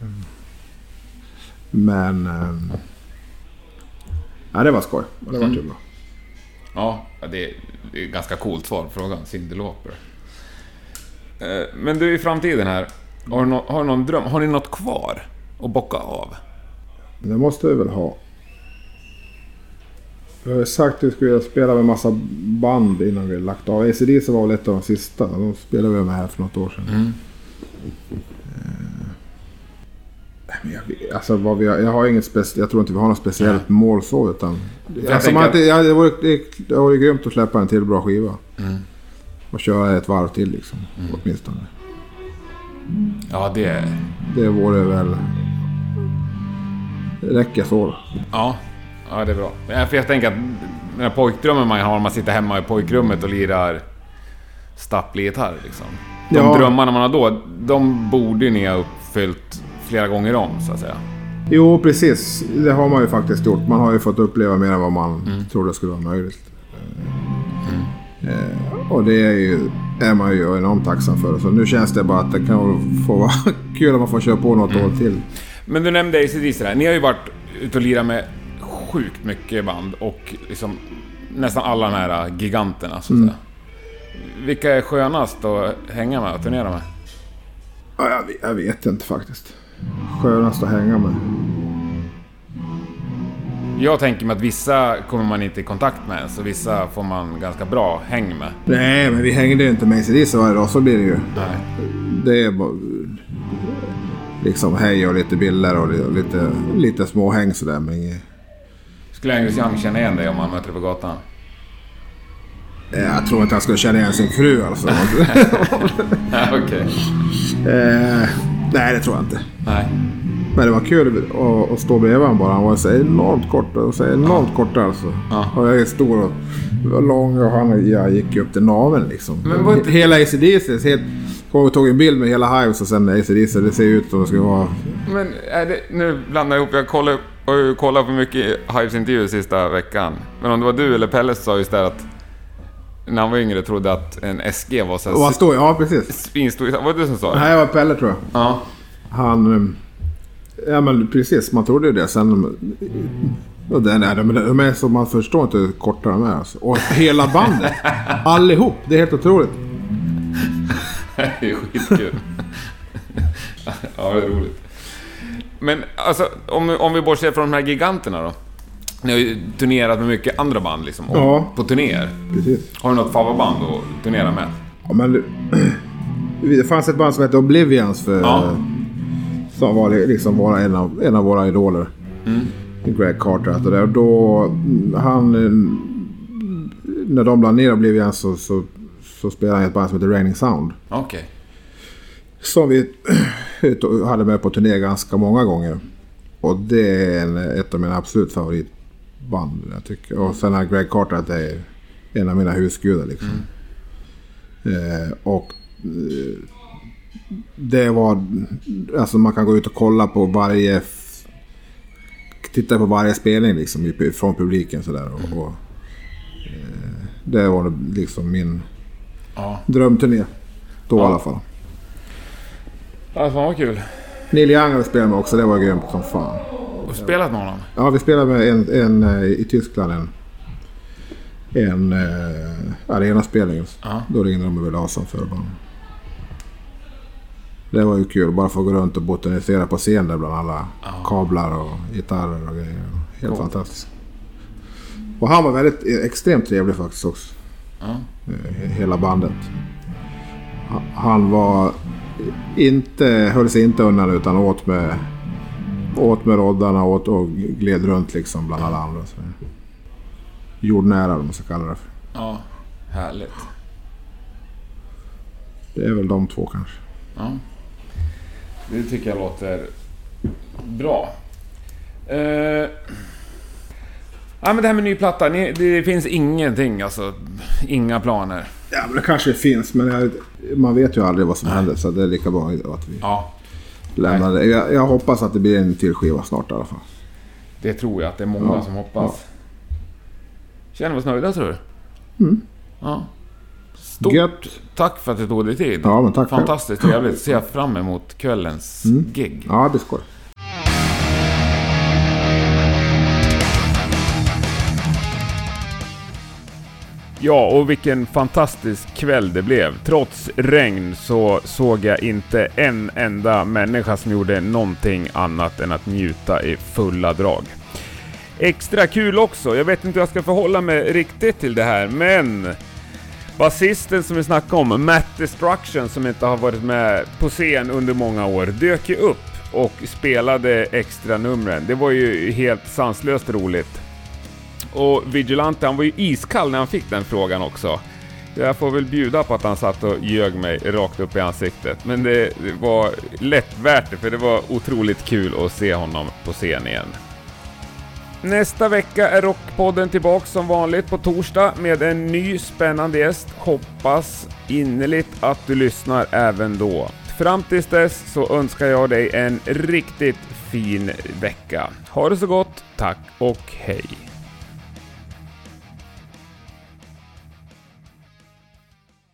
Speaker 1: Men... ehm, Ja, det var skoj. Och det var kul då.
Speaker 2: Ja, det är, det är ett ganska coolt svar på frågan. Cyndi Lauper. Eh, Men du, i framtiden här. Har du, nå- har du någon dröm? Har ni något kvar att bocka av?
Speaker 1: Det måste vi väl ha. Vi har ju sagt att vi skulle spela med massa band innan vi lagt av. ACDC var väl ett av de sista. De spelade vi med här för något år sedan.
Speaker 2: Mm.
Speaker 1: Eh, nej, men Jag, vet- alltså vad vi har, jag har inget spec, jag tror inte vi har något speciellt mål så utan...
Speaker 2: jag
Speaker 1: Alltså, man,
Speaker 2: tänker-
Speaker 1: det, ja, det, vore, det, det vore grymt att släppa en till bra skiva.
Speaker 2: Mm.
Speaker 1: Och köra ett varv till liksom. Åtminstone.
Speaker 2: Ja, det...
Speaker 1: Det vore väl... Det räcker så. då.
Speaker 2: Ja, ja det är bra. Ja, För jag tänker att den här pojkdrömmen man har när man sitter hemma i pojkrummet och lirar stapplig gitarr liksom. De
Speaker 1: Ja.
Speaker 2: drömmarna man har då, de borde ju ni ha uppfyllt flera gånger om så att säga.
Speaker 1: Jo, precis. Det har man ju faktiskt gjort. Man har ju fått uppleva mer än vad man trodde skulle vara möjligt. Eh, och det är, ju, är man ju enormt tacksam för. Så nu känns det bara att det kan få vara [laughs] kul om man får köra på något år till.
Speaker 2: Men du nämnde ACDC där. Ni har ju varit ute och lirat med sjukt mycket band och liksom nästan alla de här giganterna så att säga. Vilka är skönast att hänga med och turnera med?
Speaker 1: Ja, jag, vet- jag vet inte faktiskt. Skönast att hänga med.
Speaker 2: Jag tänker mig att vissa kommer man inte i kontakt med ens och vissa får man ganska bra häng med.
Speaker 1: Nej, men vi hängde ju inte med ACDC varje dag. Så blir det ju.
Speaker 2: Nej.
Speaker 1: Det är bara... eh, Liksom hej och lite bilder och li- lite, lite småhäng sådär. Men inget...
Speaker 2: Skulle Angus Young känna igen dig om han möter dig på gatan? [laughs]
Speaker 1: eh, Jag tror inte han skulle känna igen sin fru alltså.
Speaker 2: Okej.
Speaker 1: Eh, nej, det tror jag inte.
Speaker 2: Nej.
Speaker 1: Men det var kul att, att stå bredvid honom bara. Han var så enormt kort. Och så enormt kort alltså. Och jag är stor och och lång och han jag gick ju upp till naveln liksom.
Speaker 2: Men var inte-
Speaker 1: Hela ACDC. Helt... Kommer ihåg, tog en bild med hela Hives och sen ACDC. Det ser ju ut som det skulle vara...
Speaker 2: Men är det, nu blandar jag ihop. Jag kollar, har ju kollat på mycket Hives intervjuer sista veckan. Men om det var du eller Pelle så sa just där att när han var yngre trodde att en SG var så
Speaker 1: Och
Speaker 2: här
Speaker 1: han står Ja, precis.
Speaker 2: svinstor. Var det du som sa
Speaker 1: Det
Speaker 2: det?
Speaker 1: här var Pelle tror jag.
Speaker 2: Ja. [laughs]
Speaker 1: Han... ehm, Ja men precis, man trodde ju det. Sen... eh, Och den är, men de är så man förstår inte hur korta de är. Alltså. Och hela bandet. Allihop. Det är helt otroligt.
Speaker 2: Det är skitkul. [laughs] ja, det är roligt. Men alltså, om, om vi bortser från de här giganterna då. Ni har ju turnerat med mycket andra band liksom. och-
Speaker 1: Ja.
Speaker 2: På turnéer.
Speaker 1: Precis.
Speaker 2: Har du något favoritband att turnera med?
Speaker 1: Ja, men [clears throat] du- det fanns ett band som hette Oblivions för, eh,
Speaker 2: Ja.
Speaker 1: som var liksom våra, en, av, en av våra idoler. Greg Carter hette det. Och Då, mm, han, eh, när de la ner Oblivions så, så, så spelade han i ett band som heter Raining Sound.
Speaker 2: Okej.
Speaker 1: Som vi [clears throat] hade med på turné ganska många gånger. Och det är en, ett av mina absolut favoritband. Jag tycker. Och sen har Greg Carter att det är en av mina husgudar. Liksom. Eh, och eh, det var... Alltså man kan gå ut och kolla på varje... f- Titta på varje spelning liksom, i- från publiken sådär. Och, och, eh, Det var liksom min drömturné. Då i alla fall.
Speaker 7: Ja, fan vad kul.
Speaker 1: Neil Young har vi spelat med också. Det var grymt som fan.
Speaker 7: Har du spelat med honom?
Speaker 1: Ja, vi spelade med en, en eh, i Tyskland. En, en eh, arenaspelning.
Speaker 7: Ja.
Speaker 1: Då ringde de och ville ha som förband. Det var ju kul. Bara få gå runt och botanisera på scen där bland alla kablar och gitarrer och grejer. Helt fantastiskt. Och han var väldigt eh, extremt trevlig faktiskt också. Eh, he- Hela bandet. Ha- Han var eh, inte, höll sig inte undan utan åt med åt med roddarna åt och gled runt liksom bland alla andra. Så. Jordnära om man ska kalla det för.
Speaker 7: Ja. Härligt.
Speaker 1: Det är väl de två kanske.
Speaker 7: Ja. Det tycker jag låter bra. Eh, ja, men det här med ny platta. Ni, det finns ingenting alltså. Inga planer.
Speaker 1: Ja, men det kanske finns, men jag, man vet ju aldrig vad som händer. Så det är lika bra att vi
Speaker 7: Ja,
Speaker 1: lämnar det. Jag, jag hoppas att det blir en till skiva snart i alla fall.
Speaker 7: det tror jag att det är många som hoppas. Känner vi oss nöjda tror du? Ja. Stort
Speaker 1: Mm. Gött!
Speaker 7: tack för att du tog dig tid.
Speaker 1: Ja, men tack själv. Mm.
Speaker 7: Fantastiskt trevligt. Ser fram emot kvällens gig.
Speaker 1: Ja, det är skoj.
Speaker 2: Ja, och vilken fantastisk kväll det blev. Trots regn så såg jag inte en enda människa som gjorde någonting annat än att njuta i fulla drag. Extra kul också. Jag vet inte hur jag ska förhålla mig riktigt till det här, men Basisten som vi snackade om, Matt Destruction, som inte har varit med på scen under många år, dök ju upp och spelade extra numren. Det var ju helt sanslöst roligt. Och Vigilante, han var ju iskall när han fick den frågan också. Jag får väl bjuda på att han satt och ljög mig rakt upp i ansiktet. Men det, det var lätt värt det, för det var otroligt kul att se honom på scen igen. Nästa vecka är Rockpodden tillbaka som vanligt på torsdag med en ny spännande gäst. Hoppas innerligt att du lyssnar även då. Fram tills dess så önskar jag dig en riktigt fin vecka. Ha det så gott, tack och hej!